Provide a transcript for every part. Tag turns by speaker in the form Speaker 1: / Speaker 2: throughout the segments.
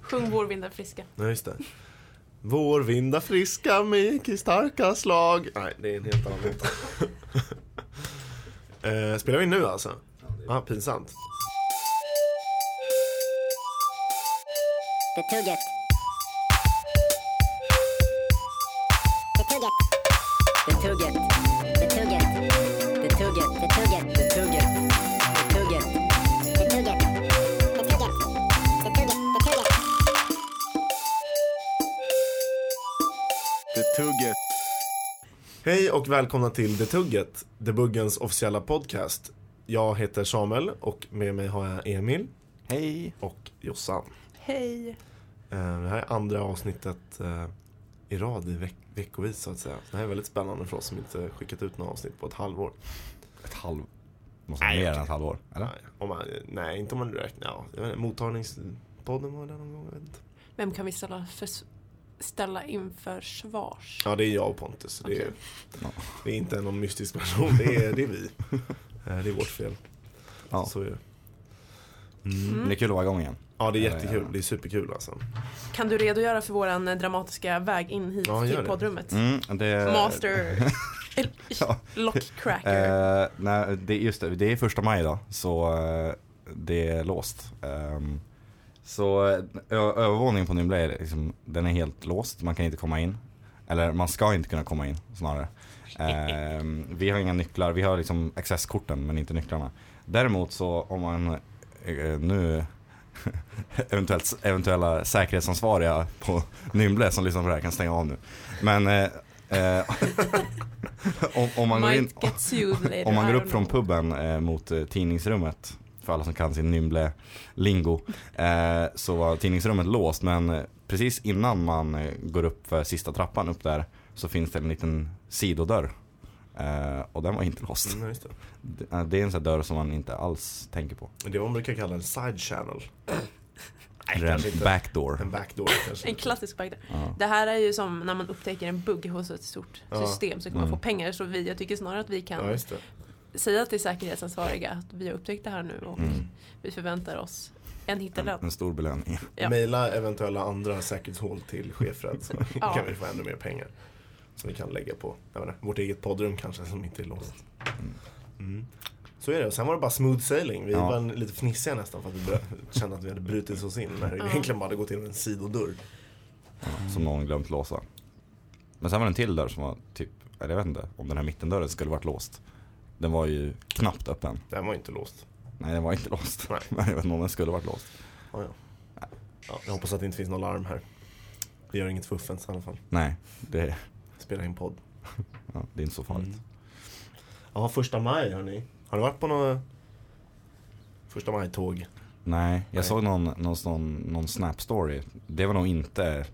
Speaker 1: Sjung Vår vind är friska.
Speaker 2: Nej, just det. Vår vinda friska mycket starka slag. Nej, det är en helt annan låt. eh, spelar vi in nu alltså? Ja, pinsamt.
Speaker 3: Betugget. Betugget. Betugget. Betugget. Betugget. Betugget. Betugget. Betugget. Betugget. Betugget. Betugget. Betugget.
Speaker 4: Betugget.
Speaker 2: Hej och välkomna till Det Tugget, Debuggens officiella podcast. Jag heter Samuel och med mig har jag Emil
Speaker 4: Hej.
Speaker 2: och Jossan.
Speaker 1: Hej.
Speaker 2: Eh, Det här är andra avsnittet eh, i rad i veck veckovis så att säga. Det här är väldigt spännande för oss som inte skickat ut några avsnitt på ett halvår.
Speaker 4: Ett halv... Måste vara
Speaker 2: Nej,
Speaker 4: mer
Speaker 2: okej.
Speaker 4: än ett halvår, eller?
Speaker 2: Nej, om man, nej inte om man räknar. Ja, jag vet inte, mottagningspodden var det någon gång, jag vet inte.
Speaker 1: Vem kan vi ställa, för, ställa inför svars?
Speaker 2: Ja, det är jag och Pontus. Det är,
Speaker 1: Okej.
Speaker 4: Ja.
Speaker 2: det är inte någon mystisk person, det är, det är vi. Eh, Det är vårt fel.
Speaker 4: Ja.
Speaker 2: Så är det.
Speaker 4: Men Det är kul att vara igång igen.
Speaker 2: Ja, det är
Speaker 4: Ja, ja,
Speaker 2: jättekul.
Speaker 4: ja.
Speaker 2: Det är superkul alltså.
Speaker 1: Kan du redogöra för våran eh, dramatiska väg in hit
Speaker 2: Ja, gör
Speaker 1: till
Speaker 2: det.
Speaker 1: poddrummet? Eh,
Speaker 4: Mm, det...
Speaker 1: Master El-
Speaker 4: Ja.
Speaker 1: Lockcracker.
Speaker 4: Eh, nej, det, just det, det är första maj idag, så eh, det är låst. Ehm, så eh, ö- övervåningen på Nymble är liksom, den är helt låst, man kan inte komma in. Eller man ska inte kunna komma in snarare. Ehm, vi har inga nycklar, vi har liksom accesskorten men inte nycklarna. Däremot så om man eh, nu eventuellt, eventuella säkerhetsansvariga på Nymble som lyssnar på det här kan stänga av nu. Men eh, eh, om, om man går in,
Speaker 1: Might get sued later.
Speaker 4: om man går
Speaker 1: I
Speaker 4: upp
Speaker 1: don't
Speaker 4: från
Speaker 1: know.
Speaker 4: puben eh, mot eh, tidningsrummet, för alla som kan sin Nymble-lingo, eh, så var tidningsrummet låst. Men eh, precis innan man eh, går upp för sista trappan upp där så finns det en liten sidodörr. Eh, och den var inte låst.
Speaker 2: Mm, just det.
Speaker 4: D- eh, Det är en sån här dörr som man inte alls tänker på.
Speaker 2: Men Det är vad man brukar kalla en side channel.
Speaker 4: Eller
Speaker 2: kanske inte. Mm.
Speaker 4: en backdoor.
Speaker 2: En backdoor kanske.
Speaker 1: En klassisk bagdare.
Speaker 4: Ja.
Speaker 1: Det här är ju som när man upptäcker en bugg hos ett stort
Speaker 2: Ja.
Speaker 1: system så kan man
Speaker 4: Mm.
Speaker 1: få pengar. Så vi, jag tycker snarare att vi
Speaker 2: Ja,
Speaker 1: kan
Speaker 2: just det.
Speaker 1: säga till säkerhetsansvariga att vi har upptäckt det här nu och
Speaker 4: Mm.
Speaker 1: vi förväntar oss en
Speaker 4: En,
Speaker 1: hittelön.
Speaker 4: en stor belöning.
Speaker 1: Ja.
Speaker 2: Mejla eventuella andra säkerhetshål till chefred så
Speaker 1: Ja.
Speaker 2: kan vi få ännu mer pengar. Som vi kan lägga på jag vet inte, vårt eget poddrum kanske som inte är låst. Mm. Så är det. Och sen var det bara smooth sailing. Vi
Speaker 4: Ja.
Speaker 2: var en- lite fnissiga nästan för att vi bör- kände att vi hade brutit oss in när det
Speaker 1: Ja.
Speaker 2: egentligen bara hade gått in en sidodörr.
Speaker 4: Som någon glömt låsa. Men sen var det en till dörr som var typ, eller jag vet inte, om den här mittendörren skulle varit låst. Den var ju knappt öppen.
Speaker 2: Den var ju inte låst.
Speaker 4: Nej den var inte låst.
Speaker 2: Nej.
Speaker 4: Men jag vet inte om den skulle varit låst.
Speaker 2: Ja, ja. Ja, jag hoppas att det inte finns något larm här. Vi gör inget fuffens i alla fall.
Speaker 4: Nej, det,
Speaker 2: Spelar in podd.
Speaker 4: ja, det är inte så farligt.
Speaker 2: Mm. Ja, första maj hörni. Har du varit på något första maj-tåg?
Speaker 4: Nej, jag
Speaker 2: Nej.
Speaker 4: såg någon, någon, någon, någon Snap-story. Det var nog inte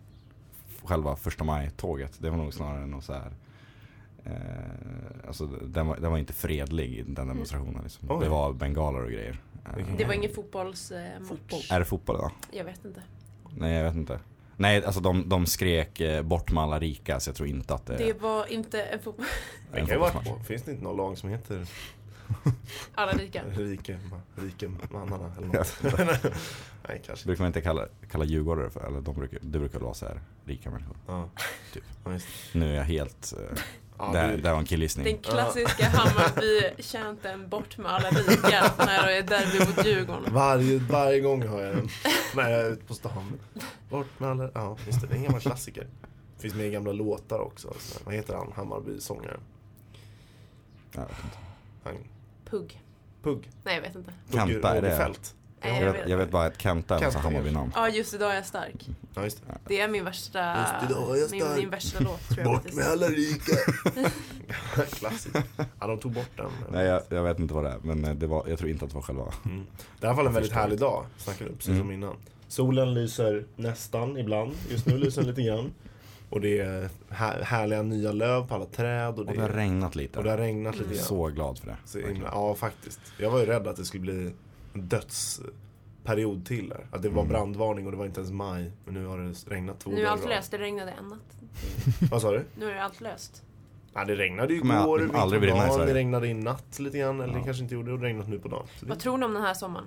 Speaker 4: själva första maj-tåget. Det var nog snarare något så här. Eh, alltså den var, den var inte fredlig den demonstrationen. Liksom.
Speaker 2: Mm. Oj.
Speaker 4: Det var bengaler och grejer. Eh,
Speaker 1: Det var ingen fotbollsmatch.
Speaker 2: Fotboll.
Speaker 4: Är det fotboll då?
Speaker 1: Jag vet inte.
Speaker 4: Nej jag vet inte. Nej alltså de, de skrek eh, bort med alla rika så jag tror inte att det,
Speaker 2: Eh.
Speaker 1: Det var inte en fotboll.
Speaker 4: är
Speaker 2: Det
Speaker 4: en
Speaker 2: kan ju vara
Speaker 4: fotbollsmatch.
Speaker 2: Finns det inte någon lag som heter
Speaker 1: Alla lika.
Speaker 2: Rike, rike mannarna eller något? Nej, kanske inte.
Speaker 4: Brukar man inte kalla, kalla djurgårdare för, eller de brukar, det brukar vara så här rika människor.
Speaker 2: Ja,
Speaker 4: Typ.
Speaker 2: ja, just.
Speaker 4: Nu är jag helt, eh,
Speaker 2: Ja,
Speaker 4: där,
Speaker 2: du-
Speaker 4: där var en
Speaker 1: Den
Speaker 4: killgissning.
Speaker 1: klassiska Hammarby-chanten bort med alla lika när det är derby mot Djurgården.
Speaker 2: Varje, varje gång hör jag den när jag är ute på stan. Bort med alla... Ja, just det. Det är en gammal klassiker. Finns med i gamla låtar också. Så, vad heter han, Hammarby-sångaren?
Speaker 4: Jag vet inte.
Speaker 2: Han-
Speaker 1: Pugg.
Speaker 2: Pugg.
Speaker 1: Nej, jag vet inte.
Speaker 2: Pugg
Speaker 4: Kanta, är det-
Speaker 2: Rådefält.
Speaker 1: Nej,
Speaker 4: Jag vet, jag vet bara att Kenta är
Speaker 2: Kenta,
Speaker 4: en Hammarby-namn.
Speaker 1: Ja, just idag är jag stark.
Speaker 2: Ja, just det.
Speaker 1: Det är min värsta,
Speaker 2: Just idag är jag
Speaker 1: min,
Speaker 2: stark.
Speaker 1: min värsta låt tror jag
Speaker 2: Bort
Speaker 1: faktiskt.
Speaker 2: med alla rika! Klassiskt. Ja, de tog bort den.
Speaker 4: Nej jag, jag vet inte vad det är, men eh, det var, jag tror inte att det var själva.
Speaker 2: Mm. Det här var en väldigt
Speaker 4: förstår.
Speaker 2: härlig dag, snackade vi precis
Speaker 4: Mm.
Speaker 2: som innan. Solen lyser nästan ibland, just nu lyser den lite grann. Och det är här, härliga nya löv på alla träd. Och det,
Speaker 4: Och det har regnat lite.
Speaker 2: och det har regnat lite
Speaker 1: Mm.
Speaker 2: grann.
Speaker 4: Så glad för det.
Speaker 2: Så himla, ja, faktiskt. Jag var ju rädd att det skulle bli en dödsperiod till här. Att det var
Speaker 4: Mm.
Speaker 2: brandvarning och det var inte ens maj. Men nu har det regnat två
Speaker 1: Nu är
Speaker 2: dagar
Speaker 1: allt
Speaker 2: i rad.
Speaker 1: löst, det regnade en natt.
Speaker 2: Vad sa du?
Speaker 1: Nu är allt löst.
Speaker 2: Nej, det regnade ju
Speaker 4: Det kommer
Speaker 2: igår,
Speaker 4: aldrig
Speaker 2: mitt på
Speaker 4: bli nice,
Speaker 2: dagen,
Speaker 4: Sverige.
Speaker 2: det regnade i natt lite grann. Eller
Speaker 4: Ja.
Speaker 2: det kanske inte gjorde, och det har regnat nu på dagen. Så det,
Speaker 1: Vad tror ni om den här sommaren?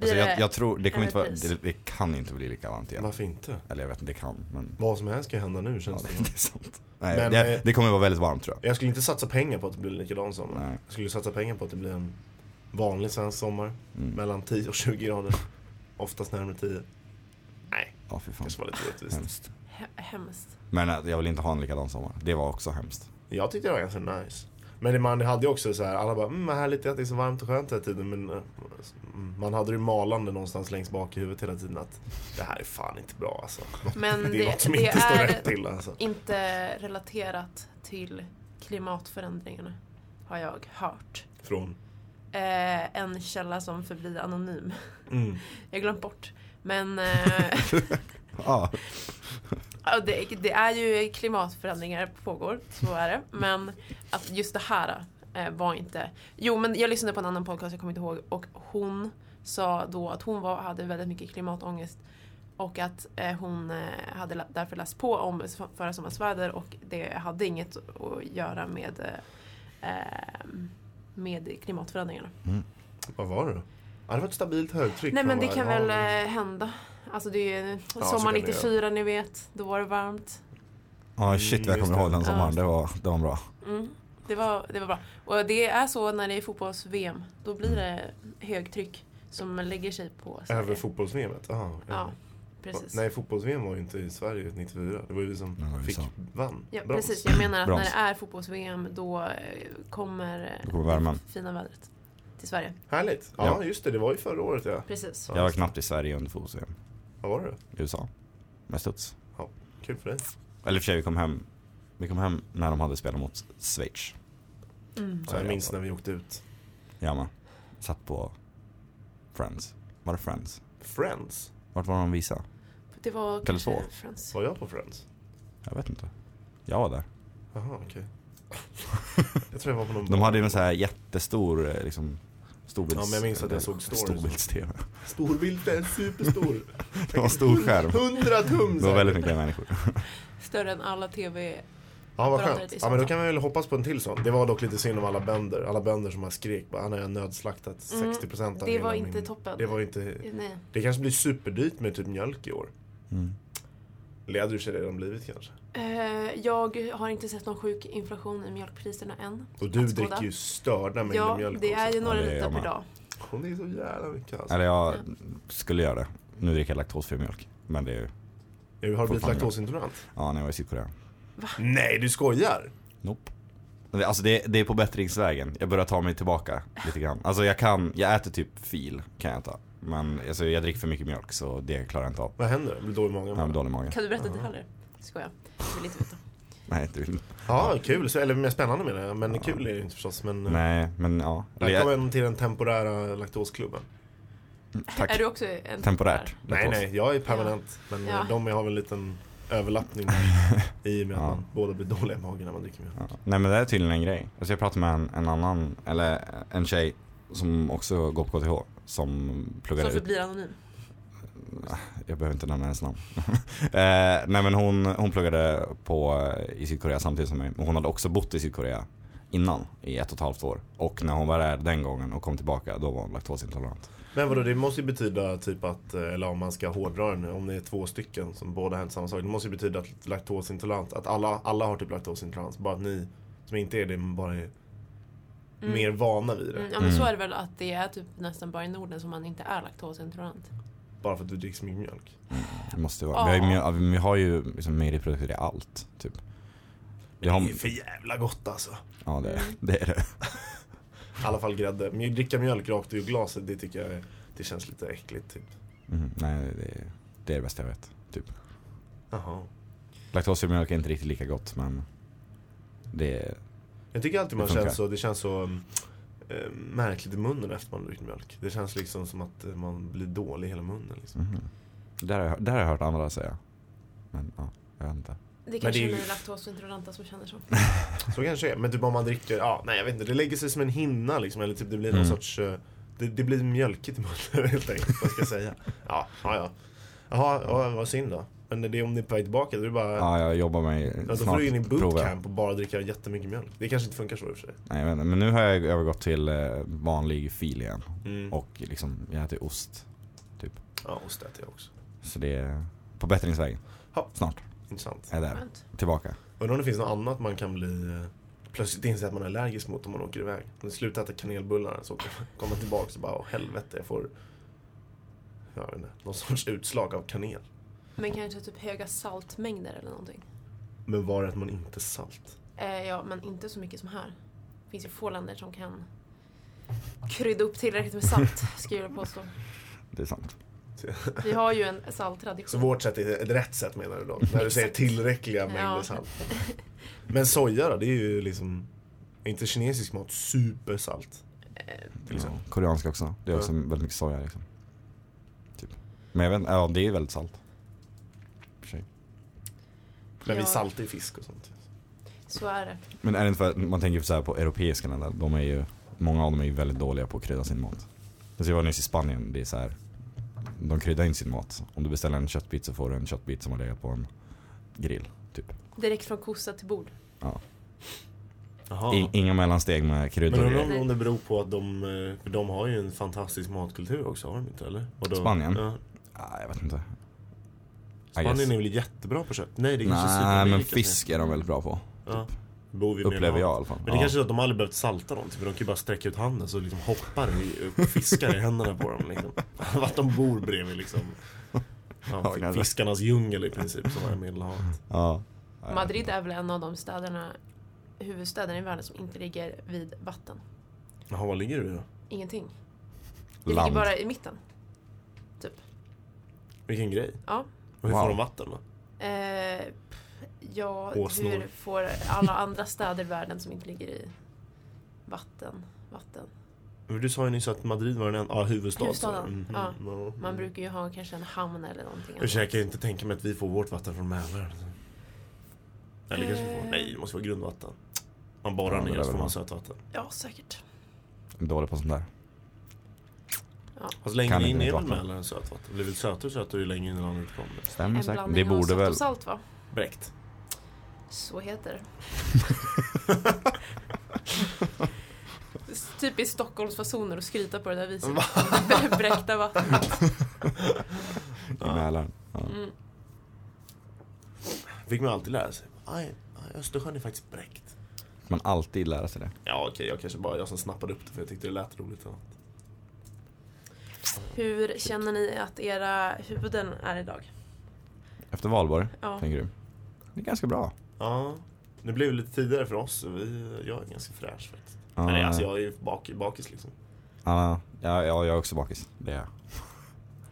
Speaker 4: Alltså jag, jag tror, det,
Speaker 1: Eller
Speaker 4: kommer inte vara,
Speaker 1: pris.
Speaker 4: det, det kan inte bli likadant igen.
Speaker 2: Varför inte?
Speaker 4: Eller jag vet inte, det kan. Men
Speaker 2: Vad som helst kan ju hända nu
Speaker 4: ja,
Speaker 2: känns
Speaker 4: det,
Speaker 2: det
Speaker 4: det
Speaker 2: som.
Speaker 4: är sant. Nej,
Speaker 2: Men,
Speaker 4: det,
Speaker 2: eh,
Speaker 4: det kommer vara väldigt varmt tror jag.
Speaker 2: Jag skulle inte satsa pengar på att det blir likadan sommar.
Speaker 4: Nej.
Speaker 2: Jag skulle satsa pengar på att det blir en vanlig svensk sommar.
Speaker 4: Mm.
Speaker 2: Mellan 10 och 20 grader. Oftast närmare 10. Nej,
Speaker 4: Ja, fy fan.
Speaker 2: kanske var lite orättvist.
Speaker 4: Hemskt.
Speaker 1: He- hemskt.
Speaker 4: Men eh, jag vill inte ha en likadan sommar. Det var också hemskt.
Speaker 2: Jag tyckte det var ganska nice. Men det- man hade ju också så här, alla bara mm, vad härligt att det är så varmt och skönt hela tiden. Men eh, mm, man hade ju malande någonstans längst bak i huvudet hela tiden att det här är fan inte bra alltså.
Speaker 1: Men
Speaker 2: Det
Speaker 1: Mm, det,
Speaker 2: är något som
Speaker 1: det
Speaker 2: inte står rätt
Speaker 1: är
Speaker 2: till alltså.
Speaker 1: inte relaterat till klimatförändringarna, har jag hört.
Speaker 2: Från.
Speaker 1: Eh, en källa som förblir anonym.
Speaker 2: Mm.
Speaker 1: Jag har glömt bort. Men eh,
Speaker 4: Ja,
Speaker 1: ja, det, det är ju klimatförändringar pågår, så är det. Men att just det här eh, var inte... Jo, men jag lyssnade på en annan podcast, jag kommer inte ihåg. Och hon sa då att hon var, hade väldigt mycket klimatångest. Och att eh, hon eh, hade la- därför läst på om s- förra sommarens väder och det hade inget att göra med, eh, eh, med klimatförändringarna.
Speaker 2: Vad var det då? Ja, det var ett stabilt högtryck.
Speaker 1: Nej
Speaker 2: Man
Speaker 1: men det
Speaker 2: bara,
Speaker 1: kan
Speaker 2: ja,
Speaker 1: väl
Speaker 2: men-
Speaker 1: eh, hända. Alltså det är ju
Speaker 2: så
Speaker 1: sommar
Speaker 2: kan det
Speaker 1: 94 ni vet, då var det varmt.
Speaker 4: ah, shit vad jag
Speaker 2: Mm,
Speaker 4: kommer
Speaker 2: just
Speaker 4: ihåg
Speaker 2: det.
Speaker 4: den sommaren. Det var, det var bra.
Speaker 1: Mm. Det, var, det var bra. Och det är så när det är fotbolls-VM, då blir det högtryck som lägger sig på Sverige.
Speaker 2: Även fotbolls-VMet? Ah,
Speaker 1: eh, Ja, precis.
Speaker 2: Nej, fotbolls-VM var ju inte i Sverige 94. Det var ju vi som
Speaker 4: Det var vi
Speaker 2: fick,
Speaker 4: som-
Speaker 2: vann.
Speaker 1: Ja,
Speaker 2: brons.
Speaker 1: precis. Jag menar att
Speaker 4: Brons.
Speaker 1: när det är fotbolls-VM då eh, kommer,
Speaker 4: Då
Speaker 1: eh,
Speaker 4: kommer värmen.
Speaker 1: fina vädret till Sverige.
Speaker 2: Härligt. Ja,
Speaker 4: Ja.
Speaker 2: just det. Det var ju förra året ja.
Speaker 1: Precis.
Speaker 4: Jag var knappt i Sverige under fotbolls
Speaker 2: Vad var det?
Speaker 4: USA. Med studs.
Speaker 2: Kul för dig.
Speaker 4: Eller i och för sig, vi kom hem. Vi kom hem när de hade spelat mot Schweiz.
Speaker 1: Mm.
Speaker 2: Så jag
Speaker 4: Ja,
Speaker 2: minns
Speaker 4: ja.
Speaker 2: när vi åkte ut.
Speaker 4: Jag med. Satt på Friends. Var det Friends?
Speaker 2: Friends?
Speaker 4: Vart var de visa?
Speaker 1: Det var kanske
Speaker 4: så.
Speaker 1: Friends.
Speaker 2: Var jag på Friends?
Speaker 4: Jag vet inte. Jag var där.
Speaker 2: Jaha, okej. jag tror jag var på någon
Speaker 4: De hade ju en sån här jättestor eh, liksom, storbilds...
Speaker 2: Ja, men jag minns att jag
Speaker 4: eh,
Speaker 2: såg stories.
Speaker 4: Storbilds-tv.
Speaker 2: Storbild, den är superstor.
Speaker 4: Det var en stor skärm.
Speaker 2: 100 tum!
Speaker 4: Det var väldigt mycket människor.
Speaker 1: Större än alla TV.
Speaker 2: Ja, vad
Speaker 1: apparater
Speaker 2: skönt.
Speaker 1: i
Speaker 2: Ja, men då
Speaker 1: sånt.
Speaker 2: kan vi väl hoppas på en till sån. Det var dock lite synd om alla bönder. Alla bönder som har skrek bara, han har nödslaktat 60% av
Speaker 1: Mm. Det
Speaker 2: hela
Speaker 1: var
Speaker 2: min...
Speaker 1: inte toppen.
Speaker 2: Det var inte...
Speaker 1: Nej.
Speaker 2: Det kanske blir superdyrt med typ mjölk i år.
Speaker 4: Mm.
Speaker 2: Eller hade du sig redan blivit kanske?
Speaker 1: Eh, Jag har inte sett någon sjuk inflation i mjölkpriserna än.
Speaker 2: Och du
Speaker 1: Att skåda.
Speaker 2: dricker ju störda mängder
Speaker 1: Ja,
Speaker 2: mjölk
Speaker 1: det är
Speaker 2: också.
Speaker 1: ju några
Speaker 4: Ja, det är
Speaker 1: liter
Speaker 4: jag
Speaker 1: per
Speaker 4: med.
Speaker 1: dag.
Speaker 2: Hon är så jävla mycket alltså.
Speaker 4: Eller jag skulle göra det. Nu dricker jag laktosfri mjölk. Men det är ju...
Speaker 2: Jag har du blivit
Speaker 4: Fortfarande.
Speaker 2: laktosintolerant?
Speaker 4: Ja, när jag var i Sydkorea.
Speaker 2: Nej, du skojar!
Speaker 4: Nope. Men det- Alltså det, det är på bättringsvägen. Jag börjar ta mig tillbaka lite grann. Alltså jag kan, jag äter typ fil kan jag ta. Men alltså jag dricker för mycket mjölk så det klarar jag inte av.
Speaker 2: Vad händer? Jag blir dålig i magen
Speaker 4: Jag har
Speaker 2: bara.
Speaker 4: dålig mage.
Speaker 1: Kan du berätta detaljer? Skojar. Jag vill inte veta.
Speaker 4: Nej, du,
Speaker 2: Ja, kul. Så, eller mer spännande menar jag. Men kul är det ju inte förstås. Men eh,
Speaker 4: nej men ja. Eller jag-
Speaker 2: välkommen till den temporära laktosklubben.
Speaker 4: mm, tack.
Speaker 1: Är du också en
Speaker 4: Temporärt.
Speaker 2: Nej,
Speaker 4: laktos.
Speaker 2: nej. Jag är permanent. Men eh,
Speaker 1: Ja.
Speaker 2: de har väl en liten överlappning i och med att
Speaker 4: Ja.
Speaker 2: man båda blir dåliga i magen när man dricker mjölk.
Speaker 4: Ja. Nej men det är tydligen en grej. Alltså jag pratade med en, en annan, eller en tjej som också går på KTH. Som
Speaker 1: Som
Speaker 4: pluggade ut.
Speaker 1: förblir anonym.
Speaker 4: Jag behöver inte nämna hennes namn. eh, nej men hon, hon pluggade på eh, i Sydkorea samtidigt som mig. Men hon hade också bott i Sydkorea innan i ett och ett halvt år. Och när hon var där den gången och kom tillbaka då var hon laktosintolerant.
Speaker 2: Men vadå, det måste ju betyda typ att, eh, eller om man ska hårdra den, om det är två stycken som båda hänt samma sak. Det måste ju betyda att laktosintolerant, att alla, alla har typ laktosintolerans. Bara att ni som inte är det bara är
Speaker 1: Mm.
Speaker 2: mer vana vid det.
Speaker 1: Mm, ja, men så är det väl att det är typ nästan bara i Norden som man inte är laktosintolerant.
Speaker 2: Bara för att du dricker så mycket mjölk.
Speaker 4: Mm, Det måste ju vara. Vi, har ju, mjöl- vi har ju liksom mejeriprodukter i allt. Typ. Vi har,
Speaker 2: Det är för jävla gott alltså.
Speaker 4: ja det, det är det.
Speaker 2: I alla fall grädde. Men dricka mjölk rakt ur glaset, det tycker jag är- det känns lite äckligt typ.
Speaker 4: Mm, nej det, är- det är det bästa jag vet. Typ.
Speaker 2: Jaha.
Speaker 4: Laktos i mjölk är inte riktigt lika gott men det är,
Speaker 2: Jag tycker alltid man
Speaker 4: Det funkar.
Speaker 2: känns så, det känns så mm, eh, märkligt i munnen efter man dricker mjölk. Det känns liksom som att eh, man blir dålig i hela munnen. Liksom.
Speaker 4: mhm. det, har jag, hör- det har jag hört andra säga. Men ja, jag vet inte.
Speaker 1: Det kanske
Speaker 2: det är
Speaker 1: är
Speaker 2: ju-
Speaker 1: ni laktosintoleranta som känner så.
Speaker 2: Så kanske det är. Men typ om man dricker, ja, nej jag vet inte, det lägger sig som en hinna liksom. Eller typ det blir någon
Speaker 4: Mm.
Speaker 2: sorts, eh, det, det blir mjölkigt i munnen helt enkelt. Vad ska jag säga? Ja, ja, ja. Jaha, ja, vad synd då. Men det är om ni är på väg tillbaka, då är det bara... Ja,
Speaker 4: Ja, jag jobbar mig
Speaker 2: då får
Speaker 4: snart
Speaker 2: du in i
Speaker 4: prova.
Speaker 2: bootcamp och bara dricka jättemycket mjölk. Det kanske inte funkar så i och för sig.
Speaker 4: Nej, men, men nu har jag övergått till eh, vanlig fil igen.
Speaker 2: Mm.
Speaker 4: Och liksom, jag äter ost.
Speaker 2: Ja, ost äter jag också.
Speaker 4: Så det är på bättringsvägen.
Speaker 2: Ja.
Speaker 4: Snart
Speaker 2: Intressant.
Speaker 4: är jag där.
Speaker 1: Skönt.
Speaker 4: Tillbaka.
Speaker 2: Undrar om det finns något annat man kan bli... eh, Plötsligt inse att man är allergisk mot om man åker iväg. Om du slutar äta kanelbullar så kan man komma tillbaka och bara, åh helvete, jag får... Jag vet inte, någon sorts utslag av kanel.
Speaker 1: Men kanske typ höga saltmängder eller någonting.
Speaker 2: Men var att man inte salt?
Speaker 1: Eh, ja, men inte så mycket som här. Det finns ju få länder som kan krydda upp tillräckligt med salt, skulle jag påstå.
Speaker 4: Det är sant.
Speaker 1: Vi har ju en salttradition.
Speaker 2: Så vårt sätt är ett rätt sätt menar du då? När du säger
Speaker 1: Exakt.
Speaker 2: tillräckliga
Speaker 1: Ja.
Speaker 2: mängder salt. Men soja då, det är ju liksom... är inte kinesisk mat supersalt? Till
Speaker 4: Ja,
Speaker 2: exempel.
Speaker 4: koreanska också. Det är också väldigt mycket soja liksom. Typ. Men jag vet inte, ja det är väldigt salt. I och för sig.
Speaker 2: Men vi
Speaker 1: Ja.
Speaker 2: saltar ju fisk och sånt.
Speaker 1: Så är det.
Speaker 4: Men är det inte för att man tänker så här på europeiska länder, de är ju, många av dem är ju väldigt dåliga på att krydda sin mat. Jag ser var nyss i Spanien, det är så här, de kryddar inte sin mat. Om du beställer en köttbit så får du en köttbit som har legat på en grill. Typ.
Speaker 1: Direkt från kossa till bord.
Speaker 2: Jaha.
Speaker 4: I, inga mellansteg med
Speaker 2: Men
Speaker 4: kryddor. och
Speaker 2: undrar
Speaker 4: grejer.
Speaker 2: om- om det beror på att de... eh, För de har ju en fantastisk matkultur också, har de inte eller? Och då-
Speaker 4: Spanien?
Speaker 2: Ja.
Speaker 4: Ah, jag vet inte. I guess.
Speaker 2: Spanien är väl jättebra på kött? Nej, det är kanske
Speaker 4: Nej
Speaker 2: Sydamerika
Speaker 4: men
Speaker 2: som är-
Speaker 4: fisk är de väldigt bra på.
Speaker 2: Ja. Bor vi mer
Speaker 4: Upplever
Speaker 2: mat.
Speaker 4: jag i alla fall.
Speaker 2: Men det
Speaker 4: ja.
Speaker 2: kanske är att de aldrig behövt salta dem, typ. för de kan ju bara sträcka ut handen så liksom hoppar det och fiskar i händerna på dem liksom. Vart de bor bredvid liksom. Ja,
Speaker 4: kanske.
Speaker 2: fiskarnas djungel i princip som är Medelhavet.
Speaker 4: ja. Ja.
Speaker 1: Madrid är väl en av de städerna, huvudstäderna i världen som inte ligger vid vatten.
Speaker 2: Jaha, var ligger du då?
Speaker 1: Ingenting. Det
Speaker 4: Land.
Speaker 1: ligger bara i mitten.
Speaker 2: Vilken grej.
Speaker 1: Ja.
Speaker 2: Och hur
Speaker 4: Wow.
Speaker 2: får de vatten då?
Speaker 1: Eh, pff, ja,
Speaker 2: Åsnor.
Speaker 1: hur får alla andra städer i världen som inte ligger i vatten, vatten?
Speaker 2: Men du sa ju nyss att Madrid var den enda, ja huvudstad.
Speaker 1: Huvudstaden, ja.
Speaker 2: ja.
Speaker 4: Mm.
Speaker 1: Man brukar ju ha kanske en hamn eller någonting. annat.
Speaker 2: Jag kan ju inte tänka mig att vi får vårt vatten från Mälaren. alltså. Eller kanske vi får,
Speaker 1: Eh.
Speaker 2: nej det måste vara grundvatten. Man
Speaker 4: Ja,
Speaker 2: borrar
Speaker 4: det
Speaker 2: ner
Speaker 4: där
Speaker 2: och så får
Speaker 4: väl
Speaker 2: man
Speaker 4: man.
Speaker 2: sötvatten.
Speaker 1: Ja, säkert.
Speaker 4: Dålig på sånt där.
Speaker 2: Fast
Speaker 4: Kan
Speaker 2: Alltså, längre in
Speaker 4: inte
Speaker 2: är väl
Speaker 4: vatten.
Speaker 2: Mälaren sötvatten? Det blir väl sötare och sötare ju längre in i landet du kommer.
Speaker 4: Stämmer
Speaker 1: En
Speaker 4: Mm, säkert.
Speaker 1: blandning
Speaker 4: Det
Speaker 1: av
Speaker 4: borde
Speaker 1: sött
Speaker 4: väl.
Speaker 1: och salt va?
Speaker 2: Bräckt.
Speaker 1: Så heter det. Typiskt Stockholmsfasoner att skryta på det där viset. Bräckta vattnet.
Speaker 4: I Mälaren. Ja.
Speaker 1: Mm.
Speaker 2: Fick man alltid lära sig. Aj, aj, Östersjön är faktiskt bräckt.
Speaker 4: Man alltid lära sig det.
Speaker 2: Ja okej, jag kanske bara jag som snappade upp det för jag tyckte det lät roligt. Ja.
Speaker 1: Hur känner ni att era huvuden är idag?
Speaker 4: Efter valborg,
Speaker 1: Ja.
Speaker 4: tänker du? Det är ganska bra.
Speaker 2: ja. Det blev lite tidigare för oss. så Vi, jag är ganska fräsch faktiskt.
Speaker 4: Ja,
Speaker 2: Men det, alltså jag är ju bak, bakis liksom.
Speaker 4: ja, ja, jag är också bakis. Det är jag.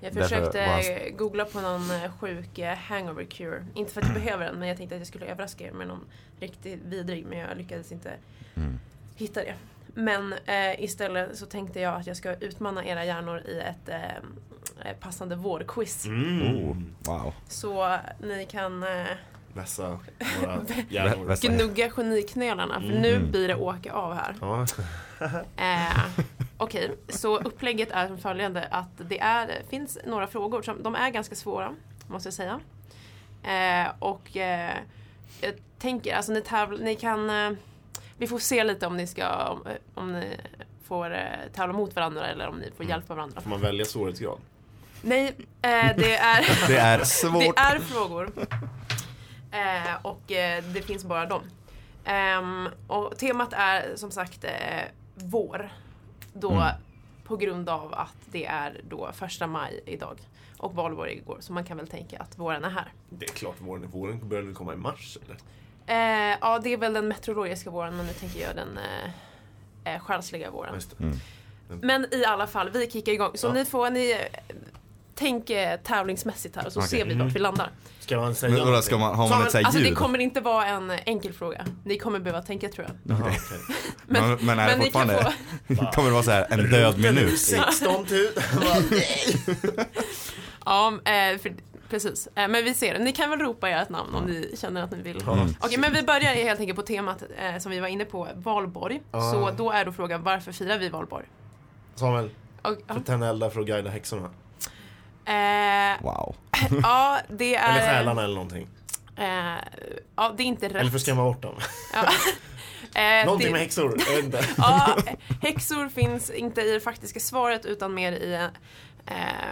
Speaker 1: Jag
Speaker 4: Därför
Speaker 1: försökte
Speaker 4: var
Speaker 1: googla på någon eh, sjuk eh, hangover cure. Inte för att jag behöver den, men jag tänkte att jag skulle överraska er med någon riktigt vidrig. Men jag lyckades inte
Speaker 4: Mm.
Speaker 1: hitta det. Men eh, istället så tänkte jag att jag ska utmana era hjärnor i ett eh, passande vårquiz.
Speaker 2: Mm.
Speaker 4: Oh, wow.
Speaker 1: Så ni kan eh,
Speaker 2: Vässa våra
Speaker 4: Vä-
Speaker 2: hjärnor.
Speaker 4: vässa-
Speaker 1: gnugga geniknölarna, för nu blir det åka av här.
Speaker 2: Ja.
Speaker 1: Eh, Okej, så upplägget är som följande att det är, finns några frågor som de är ganska svåra, måste jag säga. Eh, och eh, jag tänker, alltså ni, tävl- ni kan, eh, vi får se lite om ni ska, om, om ni får eh, tävla mot varandra eller om ni får hjälpa varandra.
Speaker 2: Får man välja svårighetsgrad?
Speaker 1: Nej, eh, det är
Speaker 4: Det är svårt.
Speaker 1: Det alltså, är frågor. Eh, och eh, det finns bara dem. Ehm, och temat är som sagt eh, vår. Då
Speaker 4: Mm.
Speaker 1: på grund av att det är då första maj idag. Och valborg igår. Så man kan väl tänka att våren är här.
Speaker 2: Det är klart våren, våren börjar väl komma i mars eller?
Speaker 1: Eh, ja, det är väl den meteorologiska våren men nu tänker jag den eh, eh, själsliga
Speaker 2: Ja,
Speaker 1: våren.
Speaker 2: just det.
Speaker 4: Mm.
Speaker 1: Men i alla fall, vi kickar igång. Så
Speaker 2: Ja.
Speaker 1: ni får, ni eh, tänk eh, tävlingsmässigt här och så
Speaker 4: Okej.
Speaker 1: ser vi vart vi landar.
Speaker 2: Ska man säga
Speaker 4: Men vadå,
Speaker 2: någonting?
Speaker 4: ska man, har man ett
Speaker 1: alltså
Speaker 4: sånt här
Speaker 1: det
Speaker 4: ljud?
Speaker 1: kommer inte vara en eh, enkel fråga. Ni kommer behöva tänka tror jag.
Speaker 2: Jaha, okej.
Speaker 4: Men, men, är det
Speaker 1: ni kan
Speaker 4: fortfarande,
Speaker 1: få-
Speaker 4: kommer det vara så här en död minut?
Speaker 2: 16 000!
Speaker 1: Ja, eh, för, precis. Eh, men vi ser det. Ni kan väl ropa ert namn om ni känner att ni vill.
Speaker 2: Ja.
Speaker 1: Okej, men vi börjar helt enkelt på temat eh, som vi var inne på, valborg.
Speaker 2: Ja.
Speaker 1: Så då är då frågan, varför firar vi valborg?
Speaker 2: Samuel,
Speaker 1: Och, ja.
Speaker 2: för att tända eldar för att guida häxorna.
Speaker 1: Eh,
Speaker 4: Wow.
Speaker 1: ja, det är...
Speaker 2: Eller själarna eller någonting.
Speaker 1: Eh, ja, det är inte
Speaker 2: Eller
Speaker 1: rätt.
Speaker 2: för att skrämma bort dem.
Speaker 1: Ja. Eh,
Speaker 2: någonting
Speaker 1: det-
Speaker 2: med häxor. Jag vet inte.
Speaker 1: Ja, eh, häxor finns inte i det faktiska svaret utan mer i eh,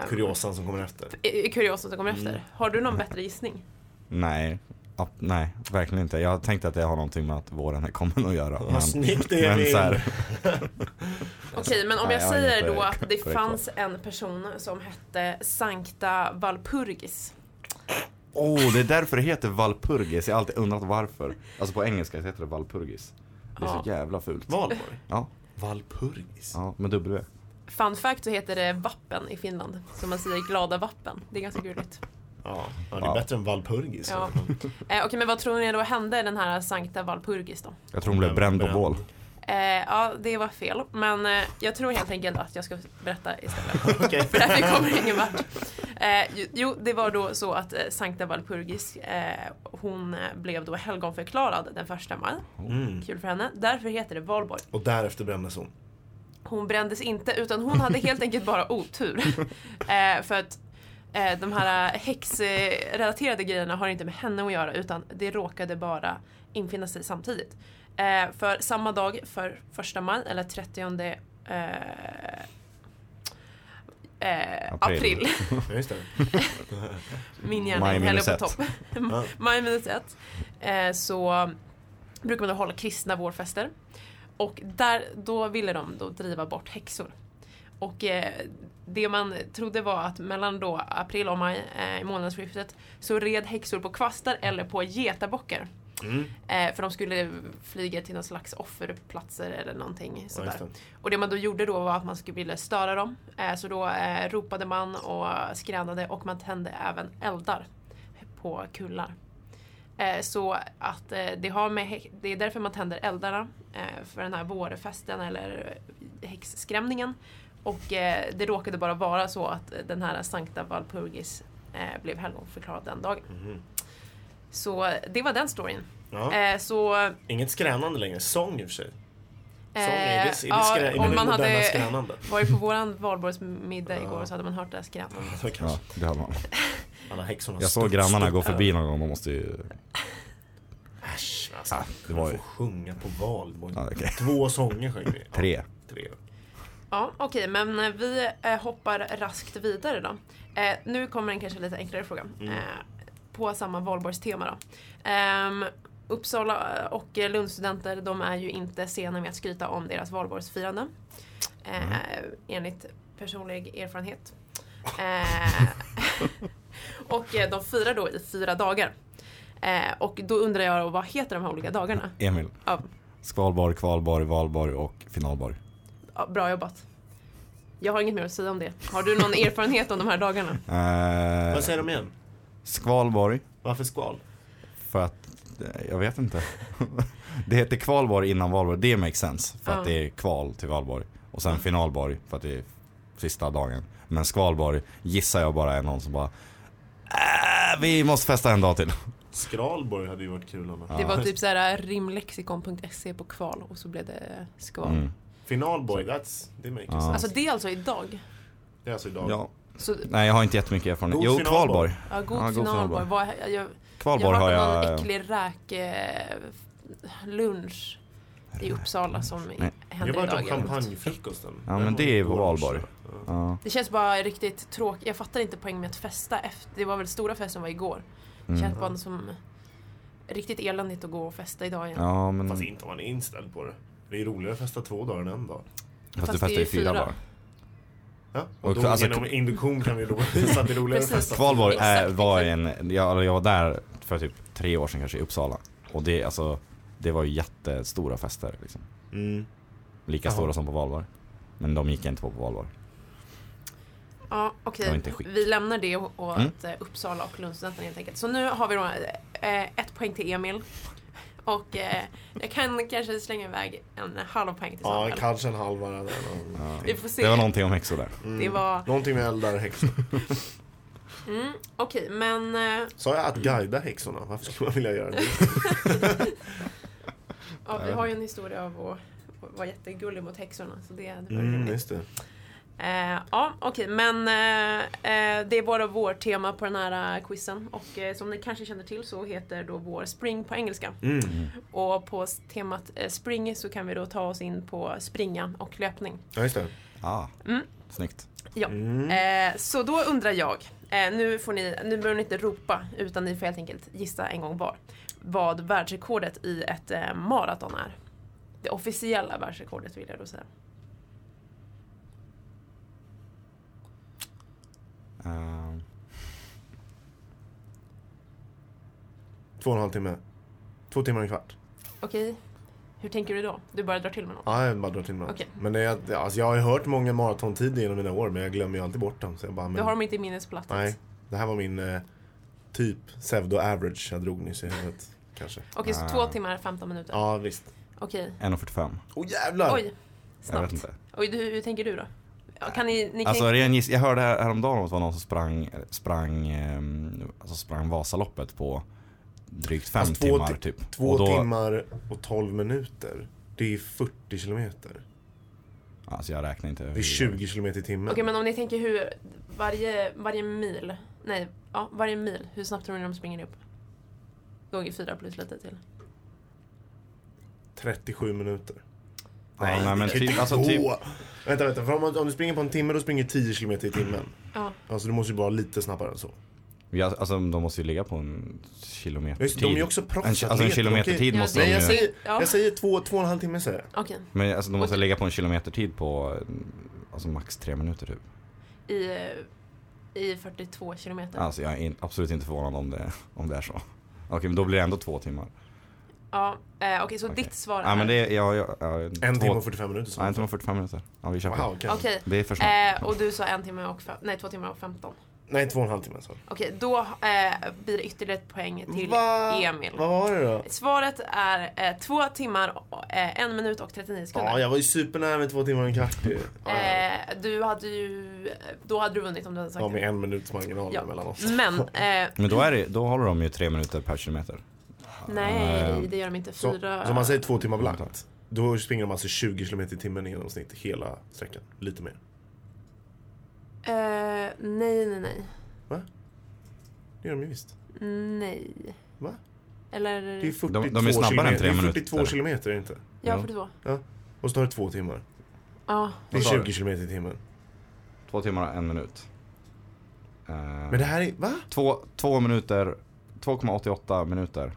Speaker 2: Kuriosan som kommer efter.
Speaker 1: i- i kuriosan som kommer
Speaker 4: Mm.
Speaker 1: efter. Har du någon bättre gissning?
Speaker 4: Nej. Ja, nej, verkligen inte. Jag tänkte att det har någonting med att våren här kommer att göra.
Speaker 2: Vad snyggt det är
Speaker 4: men
Speaker 2: Emil.
Speaker 4: så här,
Speaker 1: Okej, men om
Speaker 4: Alltså, Nej,
Speaker 1: jag
Speaker 4: jag har
Speaker 1: säger
Speaker 4: inget,
Speaker 1: då
Speaker 4: eh,
Speaker 1: att det
Speaker 4: korrekt
Speaker 1: fanns en person som hette Sankta Valpurgis.
Speaker 4: oh, det är därför det heter Valpurgis. Jag har alltid undrat varför. Alltså på engelska heter det Valpurgis. Det är
Speaker 1: Ja.
Speaker 4: så jävla fult.
Speaker 2: Valborg?
Speaker 4: Ja,
Speaker 2: Valpurgis?
Speaker 4: ja, med W.
Speaker 1: Fun fact så heter det vappen i Finland. Så man säger glada vappen. Det är ganska gulligt.
Speaker 2: Ja, ja det är
Speaker 4: Ja.
Speaker 2: bättre än Valpurgis.
Speaker 1: Ja. Eh, Okej, men vad tror ni då hände den här Sankta Valpurgis då?
Speaker 4: Jag tror hon blev bränd på bål.
Speaker 1: Eh, ja, det var fel. Men eh, jag tror helt enkelt att jag ska berätta istället.
Speaker 2: Okej.
Speaker 1: För det här kommer ingen vart. Eh, ju- jo, det var då så att eh, Sankta Valpurgis, eh, hon eh, blev då helgonförklarad den första maj.
Speaker 2: Mm.
Speaker 1: Kul för henne. Därför heter det valborg.
Speaker 2: Och därefter brändes hon.
Speaker 1: Hon brändes inte, utan hon hade helt enkelt bara otur. Eh, för att eh, de här häxrelaterade grejerna har inte med henne att göra, utan det råkade bara infinna sig samtidigt. Eh, för samma dag, för första maj, eller 30 eh, eh,
Speaker 4: April.
Speaker 1: april.
Speaker 2: Ja, just det.
Speaker 1: Min hjärna
Speaker 4: Maj
Speaker 1: är heller
Speaker 4: minus
Speaker 1: på
Speaker 4: ett.
Speaker 1: topp.
Speaker 2: Ja.
Speaker 1: Maj minus ett. Eh, så brukar man då hålla kristna vårfester. Och där, då ville de då driva bort häxor. Och eh, det man trodde var att mellan då april och maj eh, i månadsskiftet så red häxor på kvastar eller på getabockar.
Speaker 2: Mm.
Speaker 1: Eh, för de skulle flyga till någon slags offerplatser eller någonting
Speaker 2: Ja,
Speaker 1: sådär.
Speaker 2: just det.
Speaker 1: Och det man då gjorde då var att man skulle vilja störa dem. Eh, så då eh, ropade man och skränade och man tände även eldar på kullar. Eh, så att eh, det, har med hä- det är därför man tänder eldarna eh, för den här vårfesten eller häxskrämningen. Och eh, det råkade bara vara så att eh, den här Sankta Valpurgis eh, blev helgonförklarad den dagen.
Speaker 2: Mhm.
Speaker 1: Så eh, det var den storyn.
Speaker 2: Ja.
Speaker 1: Eh, så...
Speaker 2: Inget skränande längre. Sång i och för sig. Sång, är det, är det,
Speaker 1: Eh, ja,
Speaker 2: skrä, är det
Speaker 1: om
Speaker 2: det
Speaker 1: man
Speaker 2: moderna
Speaker 1: hade
Speaker 2: skränande?
Speaker 1: varit på våran valborgsmiddag igår
Speaker 2: Ja.
Speaker 1: så hade man hört det här skrattet.
Speaker 2: Ja, det var
Speaker 4: Ja,
Speaker 2: kanske-
Speaker 4: det hade man.
Speaker 2: Alla häxorna
Speaker 4: Jag
Speaker 2: stod-
Speaker 4: såg grannarna
Speaker 2: stod
Speaker 4: gå
Speaker 2: där.
Speaker 4: förbi någon gång, man måste ju...
Speaker 2: Äsch, alltså.
Speaker 4: Ah,
Speaker 2: det
Speaker 4: det var ju-
Speaker 2: Få sjunga på valborg.
Speaker 4: Ja, okej.
Speaker 2: Två sånger sjöng vi. Ja,
Speaker 4: Tre.
Speaker 2: tre.
Speaker 1: Ja, okej, men eh, vi eh, hoppar raskt vidare då. Eh, nu kommer en kanske lite enklare fråga. Eh, på samma valborgstema då. Ehm, Uppsala och eh, Lundstudenter, de är ju inte sena med att skryta om deras valborgsfirande. Eh, Enligt personlig erfarenhet. Eh, och eh, de firar då i fyra dagar. Eh, och då undrar jag då, vad heter de här olika dagarna?
Speaker 4: Emil.
Speaker 1: Ja,
Speaker 4: Skvalborg, kvalborg, valborg och finalborg.
Speaker 1: Ja, bra jobbat. Jag har inget mer att säga om det. Har du någon erfarenhet om de här dagarna?
Speaker 4: Eh,
Speaker 2: Vad säger de igen?
Speaker 4: skvalborg,
Speaker 2: Varför skval?
Speaker 4: för att... eh, Jag vet inte. det heter kvalborg innan valborg, det makes sense. För
Speaker 1: Ja.
Speaker 4: att det är kval till valborg. Och sen finalborg, för att det är sista dagen. Men skvalborg gissar jag bara är någon som bara... "Äh, Vi måste festa en dag till.
Speaker 2: Skralborg hade ju varit kul annars.
Speaker 1: Det var typ såhär rimlexikon.se på kval och så blev det äh, skval.
Speaker 4: Mm.
Speaker 2: Finalborg, that's, det makes
Speaker 4: Ja.
Speaker 2: sense.
Speaker 1: Alltså det är alltså idag.
Speaker 2: Det är alltså idag.
Speaker 4: Ja.
Speaker 1: Så,
Speaker 4: Nej, jag har inte jättemycket erfarenhet.
Speaker 2: God
Speaker 4: Jo,
Speaker 2: finalborg.
Speaker 4: kvalborg.
Speaker 1: ja, god
Speaker 4: Ja, god
Speaker 1: finalborg.
Speaker 4: finalborg.
Speaker 1: Vad- Jag, jag, jag
Speaker 4: Kvalborg
Speaker 1: har
Speaker 4: har
Speaker 1: hört om
Speaker 4: jag...
Speaker 1: någon äcklig räklunch i Uppsala som i-
Speaker 4: Nej.
Speaker 2: Jag
Speaker 1: händer
Speaker 2: var på
Speaker 1: idag. eller något.
Speaker 2: champagnefrukosten.
Speaker 4: Ja,
Speaker 2: Där
Speaker 4: men
Speaker 2: var
Speaker 4: det är på
Speaker 2: orange.
Speaker 4: valborg.
Speaker 2: Ja.
Speaker 4: Ja.
Speaker 1: Det känns bara riktigt tråkigt. Jag fattar inte poängen med att festa efter. Det var väl stora festen var igår. Det
Speaker 4: Mm.
Speaker 1: känns bara som riktigt eländigt att gå och festa idag igen.
Speaker 4: Ja, men...
Speaker 2: Fast inte om man är inställd på det. Det är roligare att festa två dagar än en dag.
Speaker 4: Fast du
Speaker 1: Fast det är
Speaker 4: festar
Speaker 1: ju
Speaker 4: i fyra
Speaker 1: fyra.
Speaker 4: dagar.
Speaker 2: Ja? Och
Speaker 4: Och
Speaker 2: då
Speaker 4: alltså-
Speaker 2: genom induktion kan vi då visa att det är roligare att
Speaker 1: Precis.
Speaker 2: festa.
Speaker 4: Kvalborg är,
Speaker 1: Exakt,
Speaker 4: eh, var en, jag, eller jag var där för typ tre år sedan kanske i Uppsala. Och det, alltså, det var ju jättestora fester liksom.
Speaker 2: Mm.
Speaker 4: Lika
Speaker 2: Jaha.
Speaker 4: stora som på valborg. Men de gick jag inte på på valborg.
Speaker 1: Ja, okej.
Speaker 4: Det var inte skit.
Speaker 1: Vi lämnar det åt
Speaker 4: Mm.
Speaker 1: eh, Uppsala och Lundstudenten helt enkelt. Så nu har vi då eh, ett poäng till Emil. Och eh, jag kan kanske slänga iväg en halv poäng till
Speaker 2: Ja,
Speaker 1: Samuel.
Speaker 2: kanske en halv var det. Mm.
Speaker 1: Vi får se.
Speaker 4: Det var någonting om häxor där.
Speaker 1: Det var...
Speaker 2: Någonting med eldar häxor.
Speaker 1: Mm, okej, men... eh,
Speaker 2: Sa jag att guida häxorna? Varför skulle man vilja göra det?
Speaker 1: Ja, vi har ju en historia av att vara jättegullig mot häxorna. Så det, det var
Speaker 2: Mm,
Speaker 1: roligt.
Speaker 2: just det.
Speaker 1: Eh, ja, okej, men eh, eh, det är bara vår tema på den här eh, quizen. Och eh, som ni kanske känner till så heter då vår spring på engelska.
Speaker 2: Mm.
Speaker 1: Och på s- temat eh, spring så kan vi då ta oss in på springa och löpning.
Speaker 2: Ja, just det.
Speaker 4: Ah,
Speaker 1: Mm.
Speaker 4: snyggt.
Speaker 1: Ja.
Speaker 2: Mm.
Speaker 1: Eh, så då undrar jag, eh, nu, får ni, nu behöver ni inte ropa utan ni får helt enkelt gissa en gång var. Vad världsrekordet i ett eh, maraton är. Det officiella världsrekordet vill jag då säga.
Speaker 4: Ehm,
Speaker 2: Två och en halv timme. Två timmar och en kvart.
Speaker 1: Okej, hur tänker du då? Du bara drar till med något?
Speaker 2: Ja, jag bara drar till med något.
Speaker 1: Okej.
Speaker 2: Men det, är- alltså, jag har ju hört många maratontider genom mina år, men jag glömmer ju alltid bort dem. Så jag bara, men,
Speaker 1: Du har dem inte i minnesplattan.
Speaker 2: Nej, det här var min eh, typ pseudo-average jag drog nyss i huvudet. Kanske.
Speaker 1: Okej, så
Speaker 4: Ah.
Speaker 1: två timmar 15 minuter.
Speaker 2: Ja, visst.
Speaker 1: Okej.
Speaker 4: 1.45.
Speaker 2: Åh jävlar!
Speaker 1: Oj,
Speaker 4: Jag vet
Speaker 1: snabbt.
Speaker 4: inte.
Speaker 1: Oj, du, hur tänker du då? Ja, Kan ni, ni kan...
Speaker 4: Alltså, ren giss, jag hörde här, häromdagen att det var någon som sprang, sprang, ehm, alltså sprang Vasaloppet på drygt fem
Speaker 2: Alltså, två
Speaker 4: timmar
Speaker 2: ti-
Speaker 4: typ.
Speaker 2: Två
Speaker 4: Och då-
Speaker 2: timmar och 12 minuter. Det är 40 kilometer.
Speaker 4: Alltså jag räknar inte.
Speaker 2: Det är 20 kilometer i timmen.
Speaker 1: Okej, men om ni tänker hur varje, varje mil, nej, ja, varje mil, hur snabbt tror ni de springer upp? Gånger fyra plus lite till.
Speaker 2: 37 minuter.
Speaker 4: Nej, nej men
Speaker 2: det kan
Speaker 4: typ,
Speaker 2: inte
Speaker 4: alltså
Speaker 2: gå.
Speaker 4: typ.
Speaker 2: Vänta, vänta. För om, man- om du springer på en timme, då springer du 10 kilometer i timmen.
Speaker 1: Ja.
Speaker 2: Alltså du måste ju vara lite snabbare än så.
Speaker 4: Ja, alltså de måste ju ligga på en kilometer
Speaker 2: Just, de är ju också
Speaker 4: en,
Speaker 2: proffsatleter.
Speaker 4: alltså en kilometertid
Speaker 1: Ja,
Speaker 4: måste
Speaker 1: det-
Speaker 4: de
Speaker 2: Nej,
Speaker 4: ju.
Speaker 2: jag säger,
Speaker 1: Ja.
Speaker 2: jag säger två, två och en halv timme säger jag.
Speaker 1: Okej,
Speaker 4: Men alltså de måste lägga på en kilometertid på alltså max tre minuter typ.
Speaker 1: i, eh, i 42 kilometer.
Speaker 4: Alltså jag är in, absolut inte förvånad om det, om det är så. Okej men då blir det ändå två timmar.
Speaker 1: Ja, eh, okej, så
Speaker 4: Okej.
Speaker 1: ditt svar är...
Speaker 4: Ja men det är, ja, ja, ja,
Speaker 2: En
Speaker 4: två-
Speaker 2: timme och 45 minuter.
Speaker 4: Nej en
Speaker 2: Så.
Speaker 4: timme och 45 minuter. Ja vi kör på.
Speaker 2: Wow, okay.
Speaker 1: Okej,
Speaker 4: Det är för snabbt.
Speaker 1: eh, och du sa en timme och fem, nej, två timmar och 15.
Speaker 2: Nej, två och en halv timme så.
Speaker 1: Okej, då eh, blir det ytterligare ett poäng till
Speaker 2: Va?
Speaker 1: Emil.
Speaker 2: Vad var det då?
Speaker 1: Svaret är eh, två timmar, och, eh, en minut och 39 sekunder.
Speaker 2: Ja, jag var ju supernära med två timmar och en kvart ju. Ja,
Speaker 1: Eh, du hade ju, då hade du vunnit om du hade sagt
Speaker 2: Ja,
Speaker 1: det.
Speaker 2: med en minuts marginal
Speaker 1: Ja.
Speaker 2: mellan oss.
Speaker 1: Men, eh,
Speaker 4: Men då, är det, då håller de ju tre minuter per kilometer.
Speaker 1: nej det gör de inte.
Speaker 2: Ehm, Så,
Speaker 1: Fyra...
Speaker 2: så om man säger två timmar blankt, då springer de alltså 20 km i timmen i genomsnitt hela sträckan. Lite mer.
Speaker 1: eh, nej, nej, nej.
Speaker 2: Det gör de ju visst.
Speaker 1: Nej.
Speaker 2: Va?
Speaker 1: Eller,
Speaker 2: Det är 42
Speaker 4: De- de är snabbare än tre
Speaker 2: kilometer. Det är
Speaker 4: minuter.
Speaker 2: 42 kilometer är det inte.
Speaker 1: ja,
Speaker 4: ja.
Speaker 1: 42.
Speaker 2: Och så tar det två timmar.
Speaker 1: Ja.
Speaker 2: Det är
Speaker 4: Vad sa
Speaker 2: 20
Speaker 4: du?
Speaker 2: kilometer i timmen.
Speaker 4: Två timmar och en minut. Eh,
Speaker 2: Men det här är, va?
Speaker 4: två, två minuter, 2,88 minuter.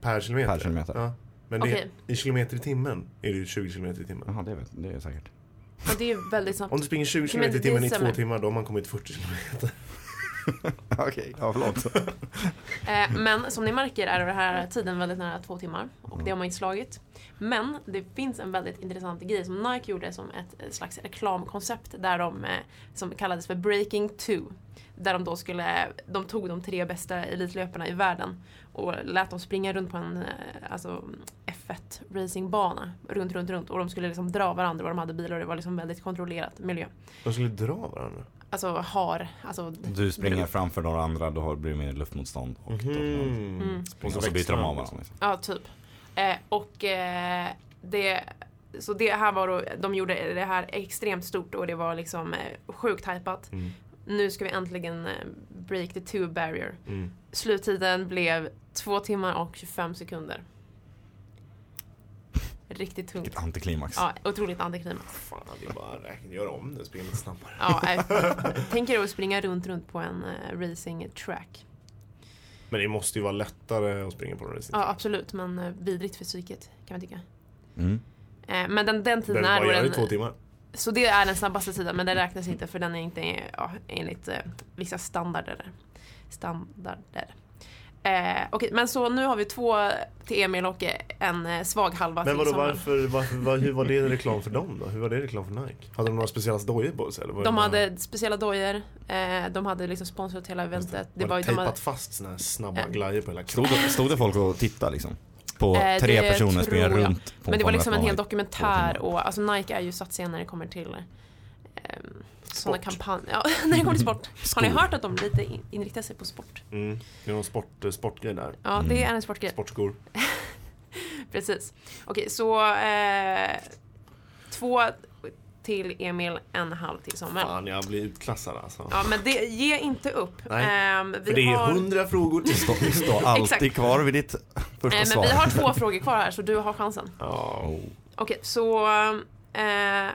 Speaker 2: Per kilometer?
Speaker 4: Per kilometer.
Speaker 2: Ja. Men det,
Speaker 1: Okej,
Speaker 2: i kilometer i timmen är det ju 20 kilometer i
Speaker 1: Mm.
Speaker 2: timmen.
Speaker 4: Jaha det, vet- det är säkert.
Speaker 1: och det är ju väldigt snabbt.
Speaker 2: Om du springer 20
Speaker 1: Men
Speaker 2: kilometer i
Speaker 1: det
Speaker 2: timmen i
Speaker 1: visar
Speaker 2: två
Speaker 1: mig.
Speaker 2: timmar, då har man kommit 40 kilometer.
Speaker 4: Okej, ja förlåt.
Speaker 1: Eh, men som ni märker är den här tiden väldigt nära två timmar och det har man inte slagit. Men det finns en väldigt intressant grej som Nike gjorde som ett eh, slags reklamkoncept där de, eh, som kallades för Breaking Two. Där de då skulle, de tog de tre bästa elitlöparna i världen och lät dem springa runt på en eh, alltså, F1 racingbana. Runt, runt, runt. Och de skulle liksom dra varandra och de hade bilar och det var liksom väldigt kontrollerat miljö.
Speaker 2: De skulle dra varandra.
Speaker 1: Alltså har, alltså...
Speaker 4: Du springer framför några andra, då har- blir det mer luftmotstånd. Och
Speaker 2: Mhm.
Speaker 4: då kan
Speaker 1: Mm.
Speaker 4: man, Mhm. och så byter de av varandra. Liksom.
Speaker 1: Ja, typ. Eh, och eh, det... Så det här var då, de gjorde det här extremt stort och det var liksom eh, sjukt hypat.
Speaker 2: Mm.
Speaker 1: Nu ska vi äntligen eh, break the two barrier.
Speaker 2: Mm.
Speaker 1: Sluttiden blev två timmar och 25 sekunder. Riktigt tungt.
Speaker 4: Vilket antiklimax.
Speaker 1: Ja, otroligt antiklimax.
Speaker 2: Fan, det är bara att räkna. Gör om det, spring lite snabbare.
Speaker 1: Ja, eh, tänk er att springa runt, runt på en eh, racing track.
Speaker 2: Men det måste ju vara lättare att springa på en racing.
Speaker 1: Ja, absolut, men eh, vidrigt för psyket kan man tycka.
Speaker 4: Mm.
Speaker 1: Eh, men den, den tiden
Speaker 2: Behöver bara
Speaker 1: är
Speaker 2: göra det
Speaker 1: då
Speaker 2: i två
Speaker 1: den,
Speaker 2: timmar.
Speaker 1: Så det är den snabbaste tiden men den räknas inte för den är inte ja, enligt eh, vissa standarder. standarder. Eh, Okej, men så nu har vi två till Emil och eh, en eh, svag halva
Speaker 2: Men
Speaker 1: till
Speaker 2: vadå,
Speaker 1: Samuel.
Speaker 2: varför, varför, var, hur var det reklam för dem då? Hur var det reklam för Nike? Hade de några speciella dojor på sig? Eller var det
Speaker 1: De
Speaker 2: bara-
Speaker 1: hade speciella dojor, eh, de hade liksom sponsrat hela
Speaker 2: Just
Speaker 1: eventet.
Speaker 2: var det
Speaker 1: var ju- de
Speaker 2: tejpat
Speaker 1: hade-
Speaker 2: fast såna här snabba
Speaker 1: Eh.
Speaker 2: glajjor på hela kroppen?
Speaker 4: Stod, det, stod det folk och tittade liksom? På
Speaker 1: Eh, det
Speaker 4: tre personer
Speaker 1: tror
Speaker 4: springer
Speaker 1: jag.
Speaker 4: runt på
Speaker 1: Men det var
Speaker 4: på
Speaker 1: liksom en hel
Speaker 4: mätaren.
Speaker 1: dokumentär
Speaker 4: två timmar.
Speaker 1: och alltså Nike är ju satsiga när det kommer till eh, sådana
Speaker 2: Sport.
Speaker 1: kampanjer. Ja, när det kommer till sport. Har ni
Speaker 4: Skor.
Speaker 1: hört att de lite in- inriktar sig på sport?
Speaker 2: Mm. Det är någon sport, eh, sportgrej där.
Speaker 1: Ja, det
Speaker 2: Mm.
Speaker 1: är en sportgrej.
Speaker 2: Sportskor.
Speaker 1: Precis. Okej, så eh, två till Emil, en halv till Samuel.
Speaker 2: Fan, jag blir utklassad alltså.
Speaker 1: Ja, men det, ge inte upp.
Speaker 2: Nej,
Speaker 1: Ehm, vi
Speaker 2: För det är
Speaker 1: har,
Speaker 2: hundra frågor till.
Speaker 4: Stå, stå alltid
Speaker 1: Exakt.
Speaker 4: kvar vid ditt första
Speaker 1: Eh,
Speaker 4: svar.
Speaker 1: men vi har två frågor kvar här, så du har chansen.
Speaker 2: Ja,
Speaker 4: Oh.
Speaker 1: Okej, så... Eh,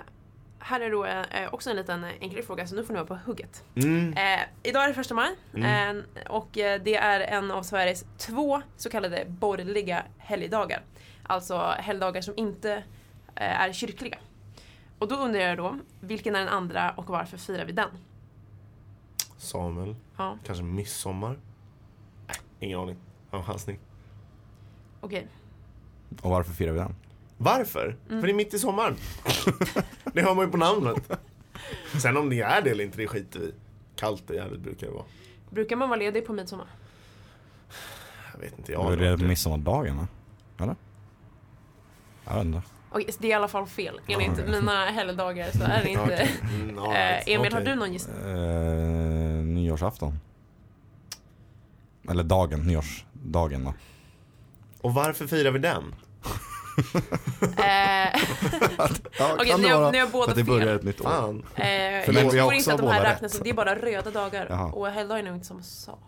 Speaker 1: här är då eh, också en liten enklare fråga, så nu får ni vara på hugget.
Speaker 2: mm.
Speaker 1: Eh, idag är det första maj
Speaker 4: Mm.
Speaker 1: eh, och eh, det är en av Sveriges två så kallade borgerliga helgdagar. Alltså helgdagar som inte eh, är kyrkliga. Och då undrar jag då, vilken är den andra och varför firar vi den?
Speaker 2: Samuel.
Speaker 1: Ja,
Speaker 2: Kanske midsommar? Nej, ingen aning. Chansning.
Speaker 1: okej.
Speaker 4: Och varför firar vi den?
Speaker 2: Varför? För det är mitt i sommaren. det hör man ju på namnet. Sen om det är det eller inte, det skiter vi i. Kallt och jävligt brukar det vara.
Speaker 1: Brukar man vara ledig på midsommar?
Speaker 2: Jag vet inte, jag
Speaker 4: Ja,
Speaker 2: har
Speaker 4: det är
Speaker 2: aldrig
Speaker 4: det
Speaker 2: varit
Speaker 4: midsommardagen va? Eller? Jag vet inte.
Speaker 1: Okej, så det är i alla fall fel. Enligt
Speaker 4: Ja, okej.
Speaker 1: mina helgdagar så är det
Speaker 2: det.
Speaker 1: inte.
Speaker 2: Okej. Mm, all right.
Speaker 1: Eh, Emil, har
Speaker 2: Okej.
Speaker 1: du någon gissning?
Speaker 4: Eh, nyårsafton. Eller dagen, nyårsdagen då.
Speaker 2: Och varför firar vi den?
Speaker 1: Eh,
Speaker 4: Ja,
Speaker 1: Okej,
Speaker 4: kan det
Speaker 1: ni har-
Speaker 4: vara
Speaker 1: ni har båda
Speaker 4: att det börjar
Speaker 1: fel.
Speaker 4: ett nytt år.
Speaker 2: Fan.
Speaker 1: Eh,
Speaker 4: Förlåt,
Speaker 1: jag
Speaker 4: vi har
Speaker 1: tror inte
Speaker 4: också
Speaker 1: att de här
Speaker 4: båda
Speaker 1: räknas,
Speaker 4: rätt.
Speaker 1: det är bara röda dagar.
Speaker 4: Jaha.
Speaker 1: Och helgdagar är nog inte samma sak.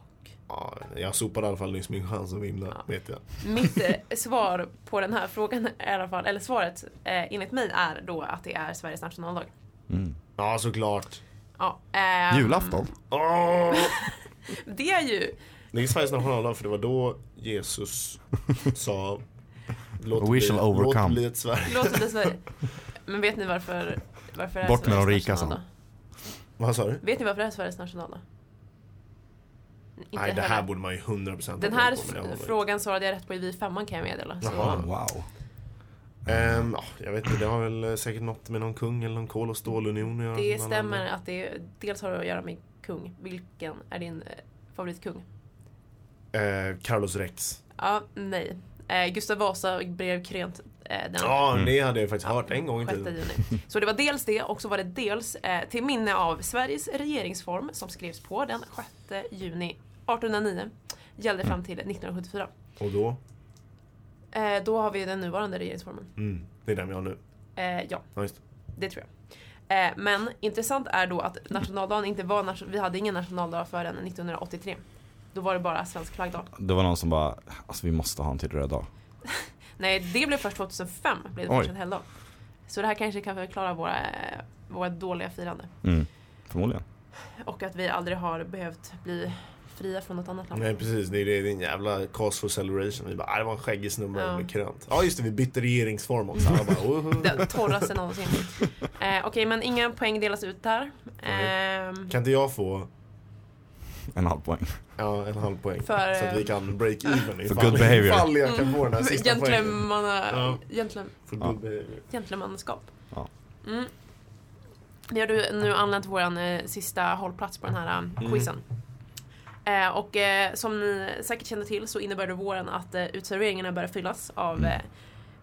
Speaker 2: Ja, jag sopade i alla fall nyss min chans att vinna,
Speaker 1: Ja.
Speaker 2: vet jag.
Speaker 1: Mitt eh, svar på den här frågan i alla fall, eller svaret eh, enligt mig är då att det är Sveriges nationaldag.
Speaker 4: Mm.
Speaker 2: Ja, såklart.
Speaker 1: Ja, ehm,
Speaker 4: Julafton?
Speaker 2: Åh!
Speaker 1: Det är ju,
Speaker 2: Det är Sveriges nationaldag för det var då Jesus sa Låt det
Speaker 4: We shall
Speaker 2: bli, låt det
Speaker 4: overcome."
Speaker 2: bli ett Sverige.
Speaker 1: låter det Sverige. Men vet ni varför, varför det är
Speaker 4: Bort med de
Speaker 1: Sveriges
Speaker 4: rika, sa han.
Speaker 1: nationaldag?
Speaker 2: Vad sa du?
Speaker 1: Vet ni varför det är Sveriges nationaldag? Inte
Speaker 2: Nej, det
Speaker 1: heller.
Speaker 2: här borde man ju 100% ha
Speaker 1: Den
Speaker 2: koll
Speaker 1: här
Speaker 2: på, men jag
Speaker 1: fr-
Speaker 2: har inte.
Speaker 1: frågan svarade jag rätt på i Vi femman kan jag meddela. Så.
Speaker 2: Jaha.
Speaker 4: Wow.
Speaker 2: Ehm, ja, jag vet inte, det har väl eh, säkert något med någon kung eller någon kol och stålunion att göra.
Speaker 1: Det
Speaker 2: som alla
Speaker 1: stämmer
Speaker 2: andra.
Speaker 1: att det dels har det att göra med kung. Vilken är din eh, favoritkung?
Speaker 2: Eh, Carlos Rex.
Speaker 1: Ja, nej. Eh, Gustav Vasa blev krönt eh, den
Speaker 2: Ja,
Speaker 4: Mm.
Speaker 2: det hade jag faktiskt hört en gång i
Speaker 1: 6
Speaker 2: tiden.
Speaker 1: juni. Så det var dels det och så var det dels eh, till minne av Sveriges regeringsform som skrevs på den 6 juni 1809. Gällde fram till 1974.
Speaker 2: Och då?
Speaker 1: Eh, då har vi den nuvarande regeringsformen.
Speaker 2: Mm, det är den vi har nu.
Speaker 1: Eh, ja,
Speaker 2: Ja, just det.
Speaker 1: det tror jag. Eh, men intressant är då att nationaldagen inte var, nation- vi hade ingen nationaldag förrän 1983. Då var det bara svensk flaggdag.
Speaker 4: Det var någon som bara, alltså vi måste ha en till röd dag.
Speaker 1: Nej, det blev först 2005. Blev det
Speaker 4: Oj.
Speaker 1: först en helgdag. Så det här kanske kan förklara våra, eh, våra dåliga firande.
Speaker 4: Mm. Förmodligen.
Speaker 1: Och att vi aldrig har behövt bli fria från något annat land.
Speaker 2: Nej, precis. Det är, det är en jävla cause for celebration. Vi bara, ah, det var en skäggig snubbe
Speaker 1: Ja.
Speaker 2: med krönt. Ja, just det. Vi bytte regeringsform också. Alla bara, oh,
Speaker 1: Den torraste någonsin. Eh, Okej, men inga poäng delas ut där. Ehm,
Speaker 2: Kan inte jag få
Speaker 4: En halv poäng.
Speaker 2: ja, en halv poäng?
Speaker 1: För, eh, Mm.
Speaker 2: så att vi kan break even ifall,
Speaker 4: good behavior.
Speaker 2: ifall jag kan få den här sista poängen.
Speaker 1: Gentlemanna,
Speaker 2: Ja.
Speaker 1: gentlem,
Speaker 2: För
Speaker 4: Ja.
Speaker 2: good behavior.
Speaker 1: gentlemannaskap.
Speaker 4: Ja.
Speaker 1: Mm. Vi har du nu anlänt till vår eh, sista hållplats på den här
Speaker 4: Mm.
Speaker 1: eh, quizen. Eh, och eh, som ni säkert känner till så innebär det våren att eh, utserveringarna börjar fyllas av eh,